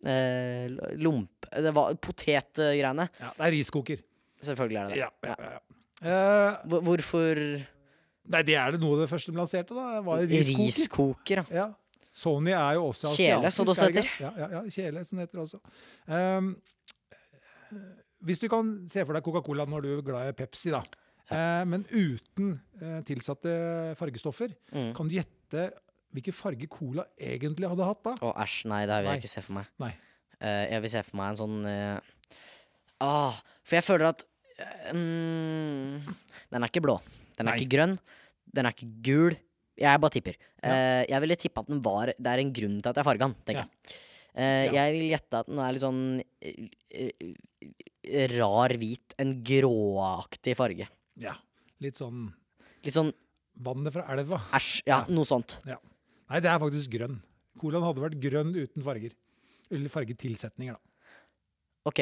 Speaker 1: Eh, l- lomp... Det var potetgreiene.
Speaker 2: ja, det er riskoker.
Speaker 1: Selvfølgelig er det det.
Speaker 2: Ja, ja, ja. Eh,
Speaker 1: Hvor- Hvorfor
Speaker 2: nei, det er det noe av det første de lanserte, da. Var jo riskoker.
Speaker 1: Riskoker, ja.
Speaker 2: Ja. Sony er jo også
Speaker 1: Kjele,
Speaker 2: asiatisk,
Speaker 1: som det også
Speaker 2: er ikke det? Ja, ja, ja, kjele, som det heter også. Ehm, hvis du kan se for deg Coca-Cola når du er glad i Pepsi, da. Eh, men uten eh, tilsatte fargestoffer,
Speaker 1: Mm.
Speaker 2: kan du gjette hvilken farge Cola egentlig hadde hatt da?
Speaker 1: Å, æsj, nei, det vil
Speaker 2: Nei.
Speaker 1: jeg ikke se for meg.
Speaker 2: Nei.
Speaker 1: Eh, jeg vil se for meg en sånn eh, ah, For jeg føler at eh, mm, Den er ikke blå. Den er
Speaker 2: Nei.
Speaker 1: ikke grønn. Den er ikke gul. Jeg bare tipper. Eh, jeg ville tippa at den var Det er en grunn til at jeg farga den, tenker
Speaker 2: Ja.
Speaker 1: jeg. Eh,
Speaker 2: Ja.
Speaker 1: Jeg vil gjette at den er litt sånn eh, eh, rar hvit. En gråaktig farge.
Speaker 2: Ja. Litt sånn
Speaker 1: Litt sånn
Speaker 2: vannet fra elva.
Speaker 1: æsj. Ja, noe sånt.
Speaker 2: Nei, det er faktisk grønn. Colaen hadde vært grønn uten farger. Eller fargetilsetninger, da.
Speaker 1: Ok,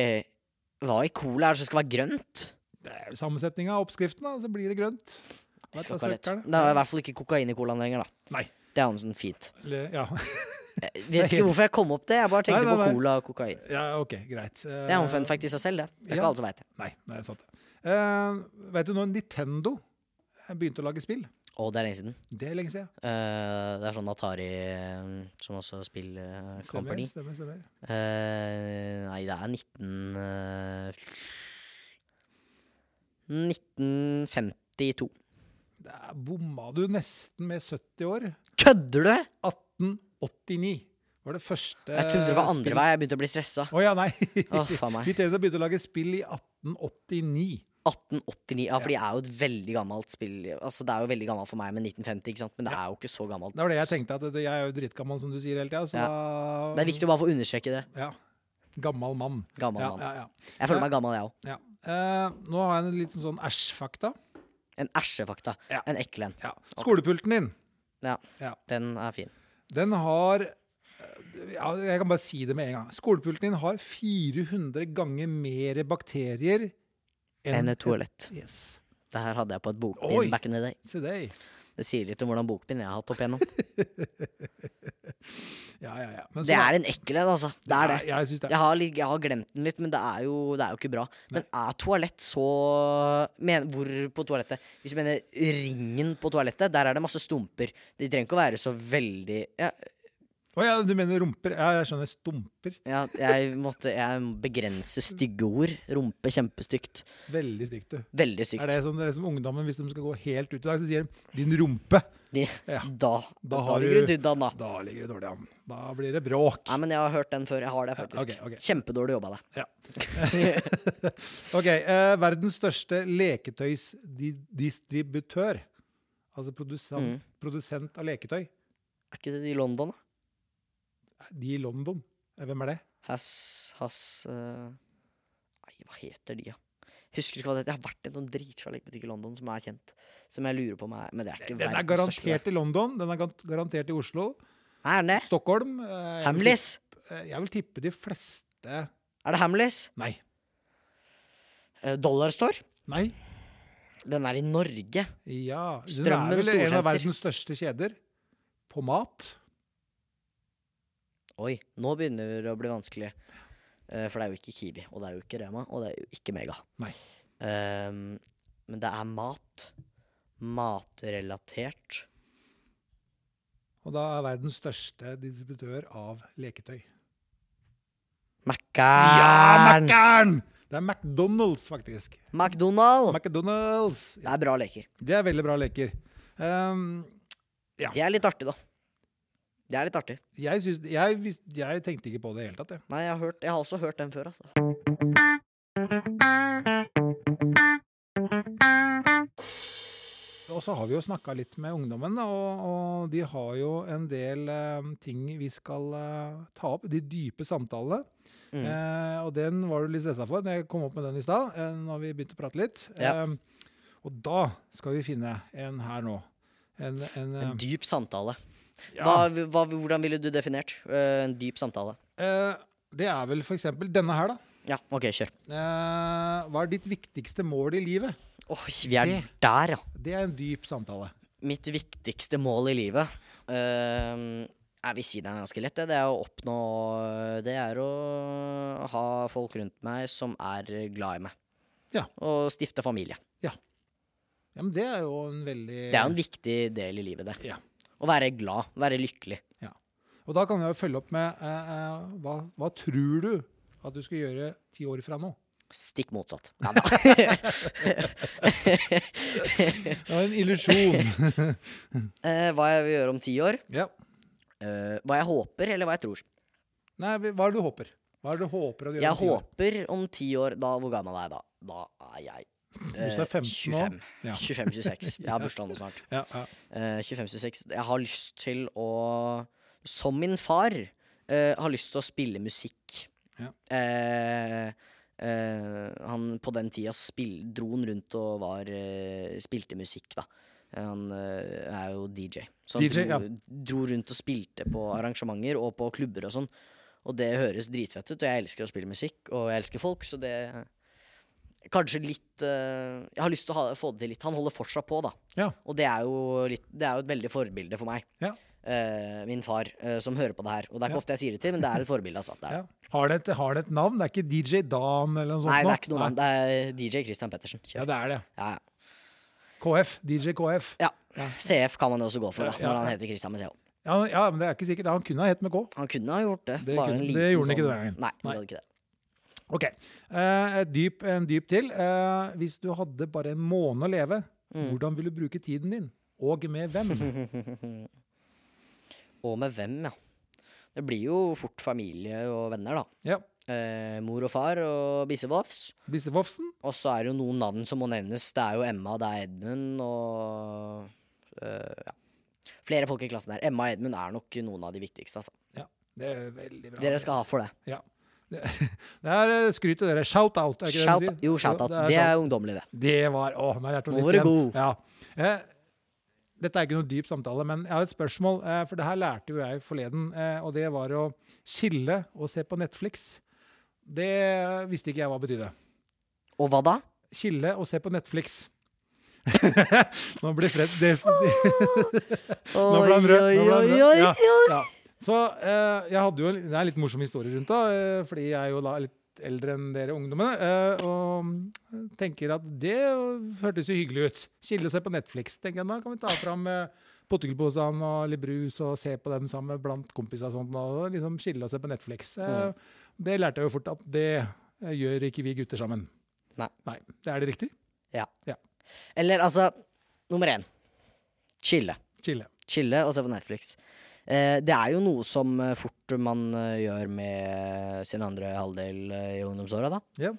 Speaker 1: hva i cola er det som skal være grønt?
Speaker 2: Det er jo sammensetninga av oppskriften, da, så blir det grønt.
Speaker 1: Jeg
Speaker 2: Vet
Speaker 1: skal
Speaker 2: da
Speaker 1: ikke ha lett.
Speaker 2: søkkerne.
Speaker 1: Det er i hvert fall ikke kokain i colaen lenger, da.
Speaker 2: Nei.
Speaker 1: Det er jo sånn fint.
Speaker 2: Eller, ja.
Speaker 1: Jeg vet ikke hvorfor jeg kom opp det. Jeg bare tenkte
Speaker 2: Nei, nei, nei.
Speaker 1: på cola og kokain.
Speaker 2: ja, ok, greit.
Speaker 1: Det er jo en fun fact i seg selv, det. Det er
Speaker 2: ja.
Speaker 1: ikke alle som vet det.
Speaker 2: Nei, det er sant. Eh, vet du når Nintendo eh, begynte å lage spill?
Speaker 1: Å, det er lenge siden.
Speaker 2: Det er lenge siden.
Speaker 1: Eh, det er sånn Atari eh, som også spiller eh,
Speaker 2: Stemmer,
Speaker 1: Company.
Speaker 2: stemmer, stemmer.
Speaker 1: Eh, nei, det er 19... eh, 1952.
Speaker 2: Der bomma du nesten med 70 år.
Speaker 1: Kødder du?!
Speaker 2: 1889 var det første
Speaker 1: Jeg trodde det var andre
Speaker 2: spill-
Speaker 1: vei. Jeg begynte å bli stressa.
Speaker 2: Å ja, nei.
Speaker 1: Å, faen meg.
Speaker 2: Nintendo begynte å lage spill i 1889.
Speaker 1: 1889. Ja, for det er jo et veldig gammelt spill. Altså, det er jo veldig gammelt for meg med 1950, ikke sant? men det er jo ikke så gammelt.
Speaker 2: Det var det jeg tenkte. at det- Jeg er jo drittgammel, som du sier hele tida. Så da
Speaker 1: Det er viktig å bare få understreke det.
Speaker 2: Ja. Gammal mann.
Speaker 1: Gammel
Speaker 2: Ja,
Speaker 1: mann.
Speaker 2: ja, ja.
Speaker 1: Jeg føler meg gammel, jeg òg.
Speaker 2: ja. Eh, nå har jeg en liten sånn æsj-fakta.
Speaker 1: En æsjefakta.
Speaker 2: Ja.
Speaker 1: En ekkel en.
Speaker 2: Skolepulten din,
Speaker 1: Ja.
Speaker 2: Ja.
Speaker 1: Den er fin.
Speaker 2: den har eh, ja, jeg kan bare si det med en gang. Skolepulten din har 400 ganger mer bakterier
Speaker 1: Enn et toalett.
Speaker 2: Yes.
Speaker 1: Det her hadde jeg på et
Speaker 2: Oi.
Speaker 1: bokbind back in the day.
Speaker 2: Se det.
Speaker 1: Det sier litt om hvordan bokbind jeg har hatt opp igjennom.
Speaker 2: Ja, ja, ja. Men
Speaker 1: Det
Speaker 2: så sånn da-
Speaker 1: er en ekkel en, altså. Det er det.
Speaker 2: Ja, jeg synes det.
Speaker 1: Jeg har, litt- jeg har glemt den litt, men det er jo, det er jo ikke bra. Men er toalett så men, Hvor på toalettet? Hvis du mener ringen på toalettet, der er det masse stumper. De trenger ikke å være så veldig ja,
Speaker 2: Å ja, du mener rumper? Ja, jeg skjønner. Stumper.
Speaker 1: ja, jeg, måtte, jeg begrenser stygge ord. Rumpe kjempestygt.
Speaker 2: Veldig stygt, du.
Speaker 1: Veldig
Speaker 2: Er
Speaker 1: stygt.
Speaker 2: det sånn det er som ungdommen, hvis de skal gå helt ut i dag, så sier de 'din rumpe'.
Speaker 1: De,
Speaker 2: Ja.
Speaker 1: Da, da
Speaker 2: har
Speaker 1: ligger
Speaker 2: du-
Speaker 1: du tydd an, da.
Speaker 2: Da ligger det dårlig an. Da blir det bråk.
Speaker 1: Nei, men jeg har hørt den før. Jeg har det, faktisk.
Speaker 2: ok, ok.
Speaker 1: Kjempedårlig jobba, det.
Speaker 2: Ja. OK. Eh, verdens største leketøysdistributør. Altså produsent, produsent av leketøy.
Speaker 1: Er Mm. ikke det i London, da?
Speaker 2: De i London. Eh, Hvem er det?
Speaker 1: Hass, Hass eh, Nei, hva heter de, da? Husker ikke hva det heter. Jeg har vært i en sånn dritsvær lekebutikk i London som er kjent. Som jeg lurer på om er Men det er ikke
Speaker 2: Den er
Speaker 1: verdens største, det.
Speaker 2: garantert i London. Den er gan- garantert i Oslo.
Speaker 1: Er den det?
Speaker 2: Stockholm. eh, jeg vil
Speaker 1: Hamleys?
Speaker 2: tippe- eh, Jeg vil tippe de fleste
Speaker 1: Er det Hamleys?
Speaker 2: Nei.
Speaker 1: Eh, Dollarstore?
Speaker 2: Nei.
Speaker 1: Den er i Norge.
Speaker 2: Ja. Den er
Speaker 1: Strømmen
Speaker 2: vel en
Speaker 1: storsenter.
Speaker 2: av verdens største kjeder på mat.
Speaker 1: Oi, nå begynner det å bli vanskelig. Eh, for det er jo ikke Kiwi, og det er jo ikke Rema, og det er jo ikke Mega.
Speaker 2: Nei.
Speaker 1: Ehm, men det er mat. Matrelatert.
Speaker 2: Og da er verdens største distributør av leketøy. Ja,
Speaker 1: Mækkern!
Speaker 2: Mækkern! Det er McDonald's, faktisk.
Speaker 1: McDonald!
Speaker 2: McDonald's.
Speaker 1: Det er bra leker.
Speaker 2: Det er veldig bra leker. Ehm,
Speaker 1: Det er litt artig, da. Det er litt artig.
Speaker 2: jeg, syns- jeg, vis- jeg tenkte ikke på det i det hele tatt. Jeg.
Speaker 1: Nei, jeg har, hørt, jeg har også hørt den før, altså.
Speaker 2: Og så har vi jo snakka litt med ungdommen, da, og, og de har jo en del ehm, ting vi skal eh, ta opp. De dype samtalene.
Speaker 1: Mm.
Speaker 2: Eh, og den var du litt stressa for da jeg kom opp med den i stad, eh, når vi begynte å prate litt.
Speaker 1: Ja.
Speaker 2: Ehm, og da skal vi finne en her nå. En, en,
Speaker 1: En
Speaker 2: eh,
Speaker 1: dyp samtale.
Speaker 2: ja.
Speaker 1: Hva, hva, hvordan ville du definert eh, en dyp samtale?
Speaker 2: Eh, det er vel for eksempel denne her, da.
Speaker 1: Ja, OK, kjør.
Speaker 2: Eh, hva er ditt viktigste mål i livet?
Speaker 1: Oi, vi er
Speaker 2: Det-
Speaker 1: der, ja.
Speaker 2: Det er en dyp samtale.
Speaker 1: Mitt viktigste mål i livet eh, Jeg vil si det er ganske lett, det. Det er å oppnå Det er å ha folk rundt meg som er glad i meg.
Speaker 2: Ja.
Speaker 1: Og stifte familie.
Speaker 2: Ja, men det er jo en veldig
Speaker 1: Det er jo en viktig del i livet, det.
Speaker 2: Ja.
Speaker 1: Å være glad. Være lykkelig.
Speaker 2: Og da kan vi jo følge opp med eh, eh, hva, hva tror du at du skal gjøre ti år fra nå?
Speaker 1: Stikk motsatt. Ja, da.
Speaker 2: Det var en illusjon.
Speaker 1: Eh, hva jeg vil gjøre om ti år?
Speaker 2: ja.
Speaker 1: Eh, hva jeg håper, eller hva jeg tror.
Speaker 2: Nei, vi- hva er det du håper? Hva er det du håper å gjøre?
Speaker 1: Jeg
Speaker 2: om ti år?
Speaker 1: håper om ti år da, Hvor gammel er jeg da? Da er jeg eh,
Speaker 2: Hvis du er 15 nå?
Speaker 1: 25.
Speaker 2: Ja.
Speaker 1: 25-26. Jeg har bursdag nå snart.
Speaker 2: Ja, ja.
Speaker 1: Eh, 25-26. Jeg har lyst til å Som min far eh, har lyst til å spille musikk.
Speaker 2: Ja.
Speaker 1: Eh, eh, han på den tida spill, dro han rundt og var eh, spilte musikk, da. Eh, Han eh, er jo DJ. Så han
Speaker 2: DJ,
Speaker 1: dro, dro rundt og spilte på arrangementer og på klubber og sånn. Og det høres dritfett ut, og jeg elsker å spille musikk, og jeg elsker folk, så det Kanskje litt eh, Jeg har lyst til å ha, få det til litt. Han holder fortsatt på, da.
Speaker 2: Ja.
Speaker 1: Og det er, jo litt, det er jo et veldig forbilde for meg.
Speaker 2: Ja.
Speaker 1: Eh, min far, eh, som hører på det her. Og det er ikke
Speaker 2: Ja.
Speaker 1: ofte jeg sier det til, men det er et forbilde. Altså, det er.
Speaker 2: Ja. Har, det et, har det et navn? Det er ikke DJ Dan eller noe sånt?
Speaker 1: Nei, det
Speaker 2: nå?
Speaker 1: er ikke noe navn. Det er DJ Christian Pettersen. Kjør.
Speaker 2: Ja, det er det.
Speaker 1: Ja.
Speaker 2: KF. DJ KF.
Speaker 1: Ja. CF kan man jo også gå for, da,
Speaker 2: Ja, ja,
Speaker 1: når han
Speaker 2: ja.
Speaker 1: heter Christian Meseo.
Speaker 2: Ja, ja, men det er ikke sikkert. Han kunne ha hett med K.
Speaker 1: Han kunne ha gjort det.
Speaker 2: Det
Speaker 1: bare
Speaker 2: kunne-
Speaker 1: en
Speaker 2: det
Speaker 1: liten
Speaker 2: gjorde han ikke
Speaker 1: sånn...
Speaker 2: den gangen.
Speaker 1: Nei, han
Speaker 2: Nei.
Speaker 1: gjorde ikke det.
Speaker 2: Ok. Eh, et dyp, en dyp til. Eh, hvis du hadde bare en måned å leve,
Speaker 1: Mm.
Speaker 2: hvordan vil du bruke tiden din? Og med hvem?
Speaker 1: Og med hvem, ja. Det blir jo fort familie og venner, da.
Speaker 2: ja.
Speaker 1: Eh, mor og far og Bissevofs.
Speaker 2: Bissevofsen?
Speaker 1: Og så er det jo noen navn som må nevnes. Det er jo Emma, det er Edmund og øh, ja. Flere folk i klassen her. Emma og Edmund er nok noen av de viktigste. Altså.
Speaker 2: Ja. Det er veldig bra.
Speaker 1: Dere skal ha for det.
Speaker 2: Ja. Det, det er eh, skryt til dere. Shout-out, er ikke
Speaker 1: Shout,
Speaker 2: det de sier?
Speaker 1: jo, shout-out.
Speaker 2: Jo,
Speaker 1: Det
Speaker 2: shout-
Speaker 1: er ungdommelig, det.
Speaker 2: Det var Å, nå er hjertet
Speaker 1: Nå
Speaker 2: mitt
Speaker 1: var du
Speaker 2: igjen.
Speaker 1: god.
Speaker 2: Ja. Eh, Dette er ikke noe dyp samtale, men jeg har et spørsmål. eh, For det her lærte jo jeg forleden, eh, og det var å skille og se på Netflix. Det visste ikke jeg hva betydde.
Speaker 1: Og hva da?
Speaker 2: Skille og se på Netflix. Nå blir Fred det, Nå ble han rød. Nå ble han rød. Ja, ja. Så eh, jeg hadde jo en- Det er en litt morsom historie rundt da, eh, fordi jeg er jo da litt eldre enn dere ungdommene. eh, og tenker at det hørtes jo hyggelig ut. Kilde å se på Netflix. tenker jeg, Da kan vi ta fram uh, potetgullposene og litt brus og se på dem sammen blant kompiser og sånt. Og liksom skille å se på Netflix. Eh,
Speaker 1: Mm.
Speaker 2: Det lærte jeg jo fort at det eh, gjør ikke vi gutter sammen.
Speaker 1: Nei.
Speaker 2: Nei. Det er det riktig?
Speaker 1: Eller altså, nummer én. Chille.
Speaker 2: Chille.
Speaker 1: Chille og se på Netflix. Eh, det er jo noe som eh, fort man eh, gjør med sin andre halvdel eh, i ungdomsåra, da.
Speaker 2: Ja.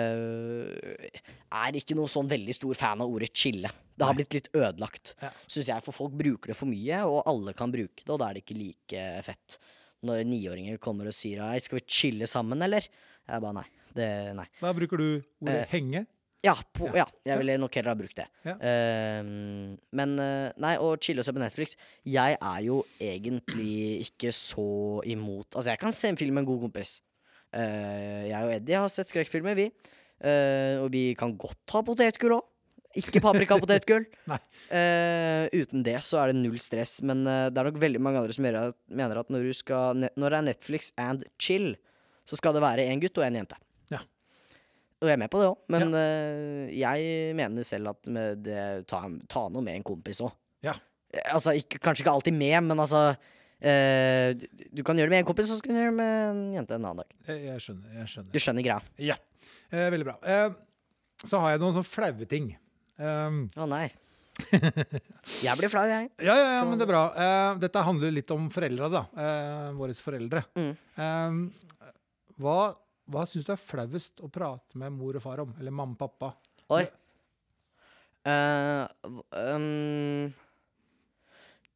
Speaker 1: Eh, er ikke noe sånn veldig stor fan av ordet chille. Det har blitt litt ødelagt,
Speaker 2: Ja.
Speaker 1: syns jeg, for folk bruker det for mye, og alle kan bruke det, og da er det ikke like fett. Når niåringer kommer og sier Hei, skal vi chille sammen, eller? Jeg bare nei. Det, nei.
Speaker 2: Da bruker du ordet
Speaker 1: Eh,
Speaker 2: 'henge'.
Speaker 1: Ja, på, ja.
Speaker 2: Ja.
Speaker 1: jeg ville nok heller ha brukt det.
Speaker 2: Ja.
Speaker 1: Ehm, men eh, nei, å chille og se på Netflix Jeg er jo egentlig ikke så imot Altså, jeg kan se en film med en god kompis. Eh, jeg og Eddie har sett skrekkfilmer, vi. Eh, og vi kan godt ha potetgull òg. Ikke paprikapotetgull.
Speaker 2: Nei.
Speaker 1: Eh, uten det så er det null stress, men eh, det er nok veldig mange andre som gjør at- mener at når, du skal, ne- når det er Netflix and chill, så skal det være én gutt og én jente.
Speaker 2: Ja.
Speaker 1: Og jeg er med på det òg, men eh, jeg mener selv at med det, ta, ta noe med en kompis òg.
Speaker 2: Ja.
Speaker 1: Altså, ikke, kanskje ikke alltid med, men altså eh, du- Du kan gjøre det med en kompis, og så kan du gjøre det med en jente en annen dag.
Speaker 2: Eh, Jeg, jeg skjønner. Jeg skjønner.
Speaker 1: Du skjønner greia.
Speaker 2: Ja, eh, veldig bra. Eh, så har jeg noen sånne flaue ting. Um,
Speaker 1: Å nei. Jeg blir flau, jeg.
Speaker 2: ja, ja, ja, men det er bra. Eh, dette handler litt om foreldra, da. Eh, Våre foreldre.
Speaker 1: Mm.
Speaker 2: Um, hva hva syns du er flauest å prate med mor og far om? Eller mamma og pappa?
Speaker 1: Oi. Eh, v- ehm,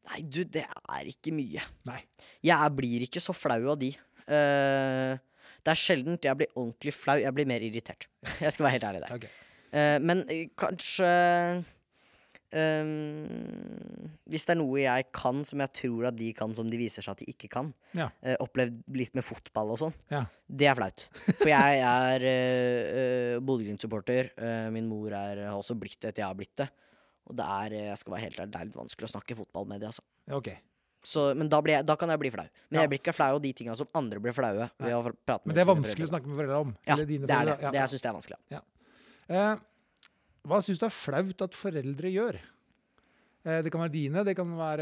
Speaker 1: nei, du, det er ikke mye.
Speaker 2: Nei.
Speaker 1: Jeg er- blir ikke så flau av de. Eh, det er sjeldent jeg blir ordentlig flau. Jeg blir mer irritert. Jeg skal være helt ærlig der.
Speaker 2: Ok.
Speaker 1: Eh, men eh, kanskje ehm, Hvis det er noe jeg kan som jeg tror at de kan, som de viser seg at de ikke kan,
Speaker 2: Ja.
Speaker 1: eh, opplevd litt med fotball og sånn,
Speaker 2: Ja.
Speaker 1: det er flaut. For jeg er uh, Bodø-Glimt-supporter. eh, min mor er, har også blitt det etter jeg har blitt det. Og det er, eh, jeg skal være helt ærlig, det er litt vanskelig å snakke fotball med de, altså.
Speaker 2: Ok.
Speaker 1: Så, men da, blir jeg, da kan jeg bli flau. Men
Speaker 2: Ja.
Speaker 1: jeg blir ikke flau av de tinga som andre blir flaue ved å prate med
Speaker 2: Men det er
Speaker 1: sine
Speaker 2: vanskelig å
Speaker 1: foreldre.
Speaker 2: snakke med foreldra om.
Speaker 1: Ja,
Speaker 2: eller dine
Speaker 1: det er det.
Speaker 2: foreldre.
Speaker 1: det jeg syns det er vanskelig.
Speaker 2: Eh, hva syns du er flaut at foreldre gjør? Eh, det kan være dine, det kan være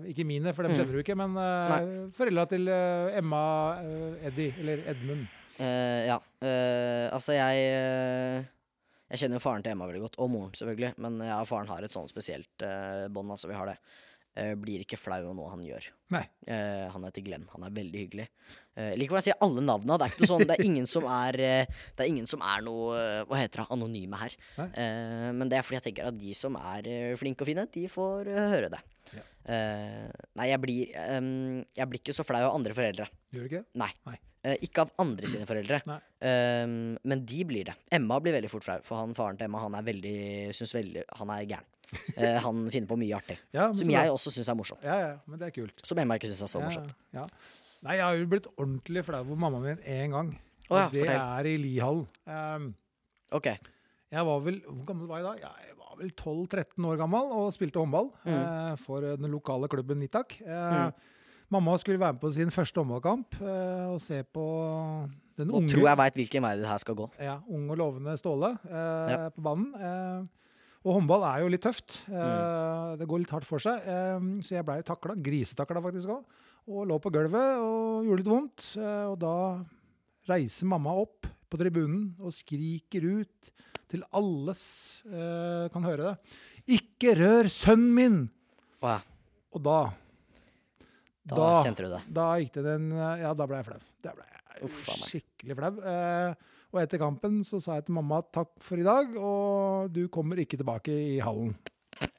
Speaker 2: eh, ikke mine, for dem
Speaker 1: Mm.
Speaker 2: kjenner du ikke, men eh, foreldra til eh, Emma, eh, Eddie eller Edmund.
Speaker 1: Eh, ja. eh, altså, jeg eh, Jeg kjenner jo faren til Emma veldig godt, og moren, selvfølgelig. Men jeg og faren har et sånn spesielt eh, bånd. Altså, vi har det. Eh, blir ikke flau av noe han gjør.
Speaker 2: Nei.
Speaker 1: Eh, han heter Glenn. Han er veldig hyggelig. Uh, likevel jeg sier alle navna. Det er ikke noe sånn, det er ingen som er eh, Det er ingen som er noe eh, Hva heter det? Anonyme her.
Speaker 2: Nei.
Speaker 1: Eh, men det er fordi jeg tenker at de som er eh, flinke og fine, de får eh, høre det.
Speaker 2: Ja.
Speaker 1: Eh, nei, jeg blir, eh, jeg blir ikke så flau av andre foreldre.
Speaker 2: Gjør du ikke det?
Speaker 1: Nei.
Speaker 2: Nei.
Speaker 1: Eh, ikke av andre sine foreldre.
Speaker 2: Nei.
Speaker 1: Ehm, men de blir det. Emma blir veldig fort flau, for han, faren til Emma han er veldig, synes veldig Han er gæren. Eh, han finner på mye artig.
Speaker 2: Ja, men
Speaker 1: Som
Speaker 2: så bra.
Speaker 1: jeg også syns er morsomt.
Speaker 2: Ja, ja, men det er kult.
Speaker 1: Som Emma ikke syns er så
Speaker 2: Ja,
Speaker 1: morsomt.
Speaker 2: Ja. Nei, jeg har jo blitt ordentlig flau over mammaen min én gang.
Speaker 1: Å ja,
Speaker 2: Og det
Speaker 1: fortell.
Speaker 2: er i Lihallen. Um,
Speaker 1: Ok.
Speaker 2: jeg var vel Hvor gammel var jeg da? Jeg var vel 12-13 år gammel og spilte håndball
Speaker 1: Mm.
Speaker 2: eh, for den lokale klubben Nittak. Eh, Mamma skulle være med på sin første håndballkamp eh, og se på den
Speaker 1: Nå
Speaker 2: unge
Speaker 1: tror jeg veit hvilken vei det her skal gå.
Speaker 2: ja, ung og lovende Ståle eh,
Speaker 1: Ja.
Speaker 2: på banen. Eh, og håndball er jo litt tøft. Eh,
Speaker 1: Mm.
Speaker 2: Det går litt hardt for seg. Eh, så jeg blei takla, grisetakla faktisk òg, og lå på gulvet og gjorde litt vondt. Eh, og da reiser mamma opp på tribunen og skriker ut til alles eh, kan høre det. Ikke rør sønnen min!
Speaker 1: Å ja.
Speaker 2: Og da
Speaker 1: Da, kjente du det.
Speaker 2: da gikk det den Ja, da ble jeg flau. Da ble jeg
Speaker 1: Uff, faen meg.
Speaker 2: skikkelig flau. Eh, og etter kampen så sa jeg til mamma takk for i dag, og du kommer ikke tilbake i hallen.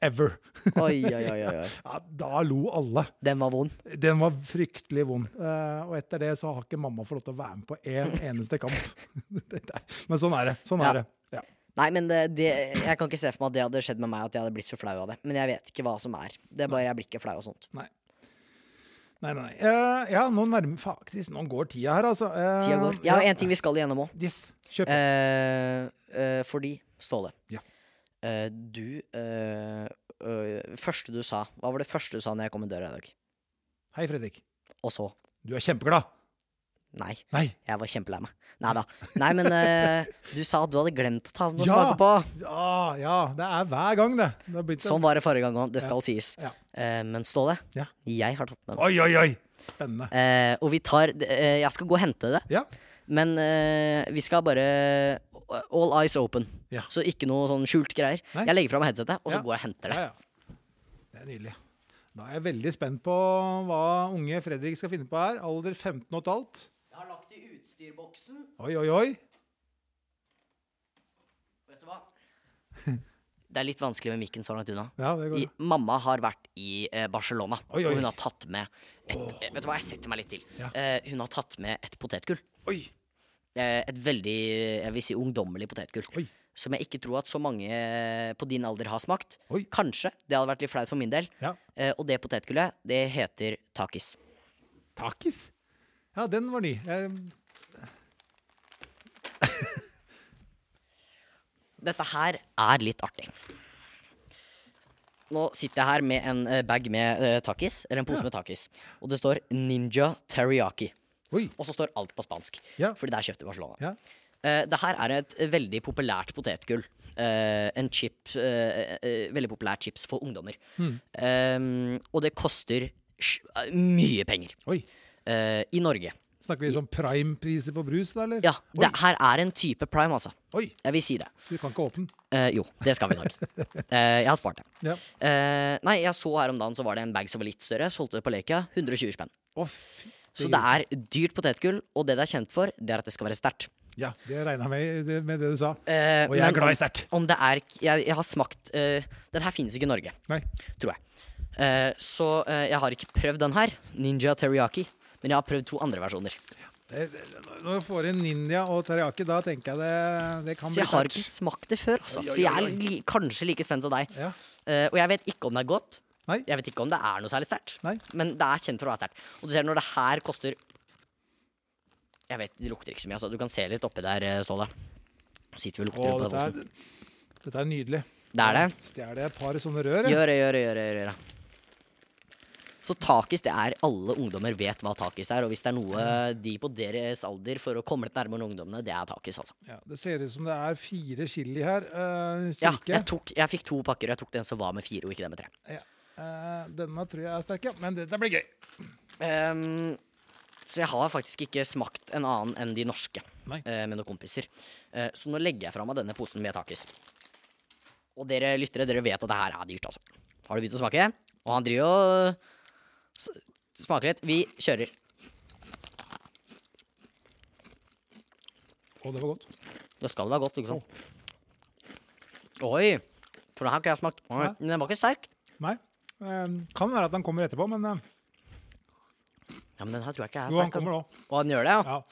Speaker 2: Ever.
Speaker 1: Oi, oi, oi. oi, oi.
Speaker 2: Ja, da lo alle.
Speaker 1: Den var vond.
Speaker 2: Den var fryktelig vond. Eh, og etter det så har ikke mamma fått lov til å være med på en eneste kamp. Det er- Men sånn er det. Sånn
Speaker 1: Ja.
Speaker 2: er det. Ja.
Speaker 1: Nei, men det, det, jeg kan ikke se for meg at det hadde skjedd med meg, at jeg hadde blitt så flau av det. Men jeg vet ikke hva som er. Det er bare jeg blir ikke flau av sånt.
Speaker 2: Nei, nei, nei. Eh, ja, nå nærmer faktisk Nå går tida her, altså. Eh,
Speaker 1: Tida går. Jeg har en ting vi skal igjennom òg.
Speaker 2: Yes. Kjøp.
Speaker 1: Eh, eh, fordi, Ståle,
Speaker 2: Ja.
Speaker 1: eh, du eh, eh, Første du sa Hva var det første du sa når jeg kom i døra i dag?
Speaker 2: Hei, Fredrik.
Speaker 1: Og så
Speaker 2: Du er kjempeglad.
Speaker 1: Nei.
Speaker 2: Nei.
Speaker 1: Jeg var kjempelei meg. Nei da. Nei, men eh, du sa at du hadde glemt å ta med noe å
Speaker 2: Ja.
Speaker 1: smake på.
Speaker 2: Ja, Ah, ja. Det er hver gang, det. det har blitt
Speaker 1: Sånn var det forrige gang òg. Det skal sies.
Speaker 2: Ja.
Speaker 1: Eh, men Ståle,
Speaker 2: Ja.
Speaker 1: jeg har tatt med den.
Speaker 2: Oi, oi, oi. Spennende.
Speaker 1: Eh, og vi tar det- eh, Jeg skal gå og hente det.
Speaker 2: Ja.
Speaker 1: Men eh, vi skal bare All eyes open.
Speaker 2: Ja.
Speaker 1: Så ikke noe sånn skjult greier.
Speaker 2: Nei.
Speaker 1: Jeg legger fram headsetet, og så
Speaker 2: Ja.
Speaker 1: går jeg og henter det.
Speaker 2: Ja, ja. Det er nydelig. Da er jeg veldig spent på hva unge Fredrik skal finne på her. Alder 15 og et halvt.
Speaker 1: Jeg har lagt i utstyrboksen.
Speaker 2: Oi, oi, oi.
Speaker 1: Vet du hva? Det er litt vanskelig med mikken så langt unna.
Speaker 2: Ja, det går
Speaker 1: I,
Speaker 2: bra.
Speaker 1: mamma har vært i eh, Barcelona,
Speaker 2: Oi, oi.
Speaker 1: og hun har tatt med et, eh, Vet du hva, jeg setter meg litt til.
Speaker 2: Ja.
Speaker 1: Eh, hun har tatt med et potetgull.
Speaker 2: Oi.
Speaker 1: Eh, et veldig jeg vil si, ungdommelig potetgull.
Speaker 2: Oi.
Speaker 1: Som jeg ikke tror at så mange eh, på din alder har smakt.
Speaker 2: Oi.
Speaker 1: Kanskje. Det hadde vært litt flaut for min del.
Speaker 2: Ja.
Speaker 1: Eh, og det potetgullet, det heter takis.
Speaker 2: Takis. Ja, den var ny. Jeg,
Speaker 1: Dette her er litt artig. Nå sitter jeg her med en eh, bag med eh, takis, eller en pose med takis. Og det står Ninja Teriyaki.
Speaker 2: oi.
Speaker 1: Og så står alt på spansk.
Speaker 2: Ja.
Speaker 1: Fordi det er kjøpt i Barcelona.
Speaker 2: Ja.
Speaker 1: Eh, det her er et veldig populært potetgull. Eh, en chip eh, eh, Veldig populær chips for ungdommer.
Speaker 2: Hmm.
Speaker 1: Eh, og det koster sj- eh, mye penger.
Speaker 2: Oi.
Speaker 1: eh, I Norge.
Speaker 2: Snakker vi sånn prime-priser på brus, da, eller?
Speaker 1: Ja,
Speaker 2: Oi.
Speaker 1: det her er en type prime, altså.
Speaker 2: oi.
Speaker 1: Jeg vil si det.
Speaker 2: Du kan ikke åpne den.
Speaker 1: Eh, jo, det skal vi i dag. Eh, jeg har spart det.
Speaker 2: Ja.
Speaker 1: Eh, nei, jeg så her om dagen så var det en bag som var litt større. Solgte det på Lekia. 120 spenn.
Speaker 2: Å, fy.
Speaker 1: Så det er dyrt potetgull, og det det er kjent for, det er at det skal være sterkt.
Speaker 2: Ja, det regna jeg med, det- med det du sa.
Speaker 1: Eh,
Speaker 2: Og jeg er
Speaker 1: men
Speaker 2: glad
Speaker 1: om-
Speaker 2: i sterkt.
Speaker 1: Om det er Jeg, jeg har smakt eh, Den her finnes ikke i Norge,
Speaker 2: Nei.
Speaker 1: tror jeg. Eh, så eh, jeg har ikke prøvd den her, Ninja Teriyaki, men jeg har prøvd to andre versjoner.
Speaker 2: Det- det- Når du får inn ninja og teriyaki, da tenker jeg det, det kan
Speaker 1: Så
Speaker 2: bli
Speaker 1: jeg har
Speaker 2: sterkt.
Speaker 1: ikke smakt det før, altså.
Speaker 2: Oi, oi,
Speaker 1: Så jeg er
Speaker 2: oi, oi.
Speaker 1: li kanskje like spent som deg.
Speaker 2: Ja.
Speaker 1: Eh, og jeg vet ikke om det er godt.
Speaker 2: Nei.
Speaker 1: Jeg vet ikke om det er noe særlig sterkt.
Speaker 2: Nei.
Speaker 1: Men det er kjent for å være sterkt. Og du ser når det her koster Jeg vet, det lukter ikke så mye, altså. Du kan se litt oppi der, eh, Ståle. Nå sitter vi og lukter
Speaker 2: Å,
Speaker 1: på den
Speaker 2: dette
Speaker 1: posen.
Speaker 2: er, dette er nydelig.
Speaker 1: Det er det.
Speaker 2: Stjeler jeg et par sånne rør? jeg?
Speaker 1: Gjør det, gjør det, gjør det. Gjør det. Så takis, det er alle ungdommer vet hva takis er, og hvis det er noe de på deres alder for å komme litt nærmere ungdommene, det er takis, altså.
Speaker 2: Ja, det ser ut som det er fire chili her. eh,
Speaker 1: Ja,
Speaker 2: styrke.
Speaker 1: jeg, tok, jeg fikk to pakker, og jeg tok den som var med fire, og ikke den med tre.
Speaker 2: Ja. Eh, denne tror jeg er sterk, ja. Men dette blir gøy.
Speaker 1: Ehm, så jeg har faktisk ikke smakt en annen enn de norske
Speaker 2: Nei.
Speaker 1: eh, med noen kompiser. Eh, så nå legger jeg fra meg denne posen med takis. Og dere lyttere, dere vet at det her er dyrt, altså. Har du begynt å smake? Og han driver og s- smaker litt. Vi kjører.
Speaker 2: Å, det var godt.
Speaker 1: Da skal det være godt, ikke sant? Oi! For den her har ikke jeg smakt. Oi,
Speaker 2: Nei.
Speaker 1: Den var ikke sterk.
Speaker 2: Nei. eh, kan være at han kommer etterpå, men eh,
Speaker 1: Ja, men den her tror jeg ikke er
Speaker 2: jo, han
Speaker 1: sterk.
Speaker 2: kommer nå.
Speaker 1: Altså. Og den gjør det, ja?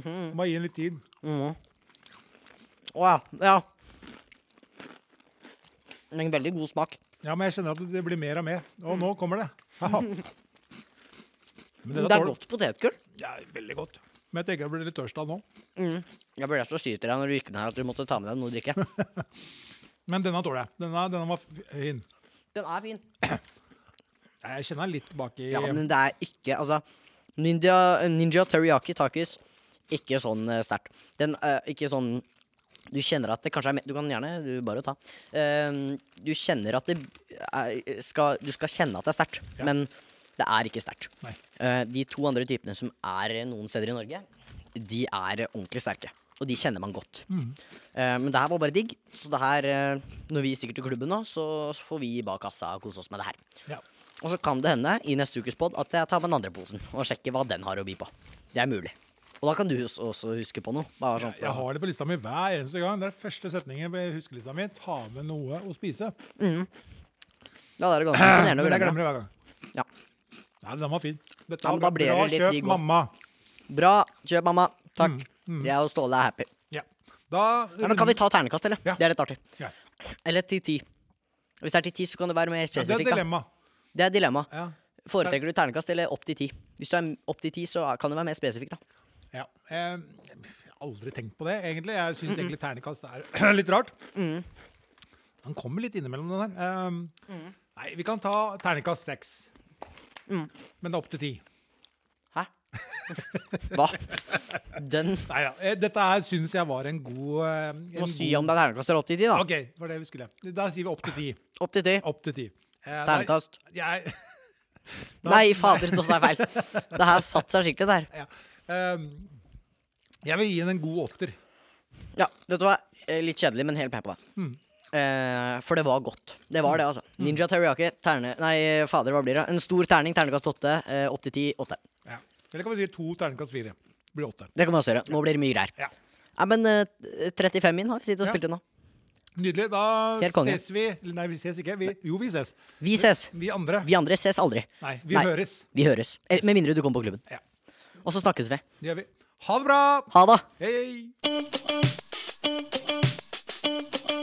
Speaker 2: Ja. Må gi den litt tid.
Speaker 1: Å ja. ja. Men veldig god smak.
Speaker 2: Ja, men jeg kjenner at det blir mer og mer.
Speaker 1: Mm.
Speaker 2: Og nå kommer det. Haha. Men
Speaker 1: Det
Speaker 2: dette
Speaker 1: er
Speaker 2: tåler-
Speaker 1: godt potetgull.
Speaker 2: Ja, veldig godt. Men jeg tenker jeg blir litt tørst av nå.
Speaker 1: Jeg vurderte å si til deg når du gikk ned her at du måtte ta med deg noe å drikke.
Speaker 2: Men denne tåler jeg. Denne, denne var fin.
Speaker 1: Den er fin.
Speaker 2: Nei, Jeg kjenner litt baki
Speaker 1: Ja, men det er ikke Altså, ninja, ninja teriyaki takis, ikke sånn eh, sterkt. Den eh, ikke sånn Du kjenner at det kanskje er me- Du kan gjerne du bare ta. Eh, du kjenner at det er, skal, Du skal kjenne at det er sterkt, men det er ikke sterkt.
Speaker 2: Nei.
Speaker 1: Eh, de to andre typene som er noen steder i Norge, de er ordentlig sterke. Og de kjenner man godt.
Speaker 2: Mm.
Speaker 1: Eh, men det her var bare digg. Så det her, eh, når vi stikker til klubben nå, så får vi bak kassa kose oss med det her.
Speaker 2: Ja.
Speaker 1: Og så kan det hende i neste ukes pod at jeg tar med den andre posen og sjekker hva den har å by på. Det er mulig. Og da kan du hus- også huske på noe. Bare sånn for
Speaker 2: Jeg
Speaker 1: å-
Speaker 2: har det på lista mi hver eneste gang. Det er første setningen på huskelista mi. Ta med noe å spise.
Speaker 1: Ja, det er ganske
Speaker 2: Men
Speaker 1: imponerende å
Speaker 2: jeg
Speaker 1: glemme.
Speaker 2: glemmer det hver gang.
Speaker 1: Ja.
Speaker 2: Nei, den var fin. Dette
Speaker 1: Ja, men
Speaker 2: var
Speaker 1: da
Speaker 2: bra.
Speaker 1: blir det litt
Speaker 2: Kjøp
Speaker 1: digg også.
Speaker 2: mamma.
Speaker 1: Bra. Kjøp, mamma. Takk. Jeg og Ståle er happy.
Speaker 2: Mm, Ja. Da
Speaker 1: Ja, men kan vi ta ternekast, eller?
Speaker 2: Ja.
Speaker 1: Det er litt artig.
Speaker 2: Ja.
Speaker 1: Eller til ti. Hvis det er til ti, så kan det være mer
Speaker 2: Ja, Det er
Speaker 1: spesifikt. da.
Speaker 2: dilemma.
Speaker 1: det er dilemma.
Speaker 2: Ja.
Speaker 1: Foretrekker du ternekast eller opp til ti? Hvis du er opp til ti, så kan det være mer spesifikt, da.
Speaker 2: ja. Eh, Jeg har aldri tenkt på det, egentlig. Jeg syns egentlig ternekast er litt rart.
Speaker 1: Mm.
Speaker 2: Han kommer litt innimellom, den her. Eh,
Speaker 1: Mm.
Speaker 2: Nei, vi kan ta ternekast seks. Men det er opp til ti.
Speaker 1: Hæ? Hva? Den
Speaker 2: Nei da. eh, Dette her syns jeg var en god eh, en
Speaker 1: må si
Speaker 2: god-
Speaker 1: om det er ternekast eller opp til ti, da.
Speaker 2: OK, det var det vi skulle. Da sier vi opp til ti.
Speaker 1: Opp til ti.
Speaker 2: Opp til ti. Eh, da-
Speaker 1: Ternekast.
Speaker 2: Jeg Da-
Speaker 1: Nei, fader, det er feil. Det her satte seg skikkelig der.
Speaker 2: Ja. Ehm, jeg vil gi den en god åtter.
Speaker 1: Ja, dette var eh, litt kjedelig, men helt med på det.
Speaker 2: Mm.
Speaker 1: Eh, for det var godt. Det var det, altså. Ninja Teriyaki, terne... Nei, fader, hva blir det? En stor terning, ternekast åtte. Eh, opp til ti, åtte.
Speaker 2: Ja. Eller kan vi si to terningkast fire. Det Blir åtte.
Speaker 1: Det kan vi også gjøre. Nå blir det mye greier.
Speaker 2: Ja.
Speaker 1: Nei, men eh, 35 min har vi sittet og
Speaker 2: Ja.
Speaker 1: spilt inn nå.
Speaker 2: Nydelig. Da
Speaker 1: Helt konge.
Speaker 2: ses vi Eller Nei, vi ses ikke. Vi, jo, vi ses.
Speaker 1: Vi ses.
Speaker 2: Vi andre.
Speaker 1: Vi andre ses aldri.
Speaker 2: Nei, vi
Speaker 1: Nei.
Speaker 2: høres.
Speaker 1: Vi høres. Eh, Med mindre du kommer på klubben.
Speaker 2: Ja.
Speaker 1: Og så snakkes vi.
Speaker 2: Det gjør vi. Ha det bra!
Speaker 1: Ha det!
Speaker 2: Hei! hei.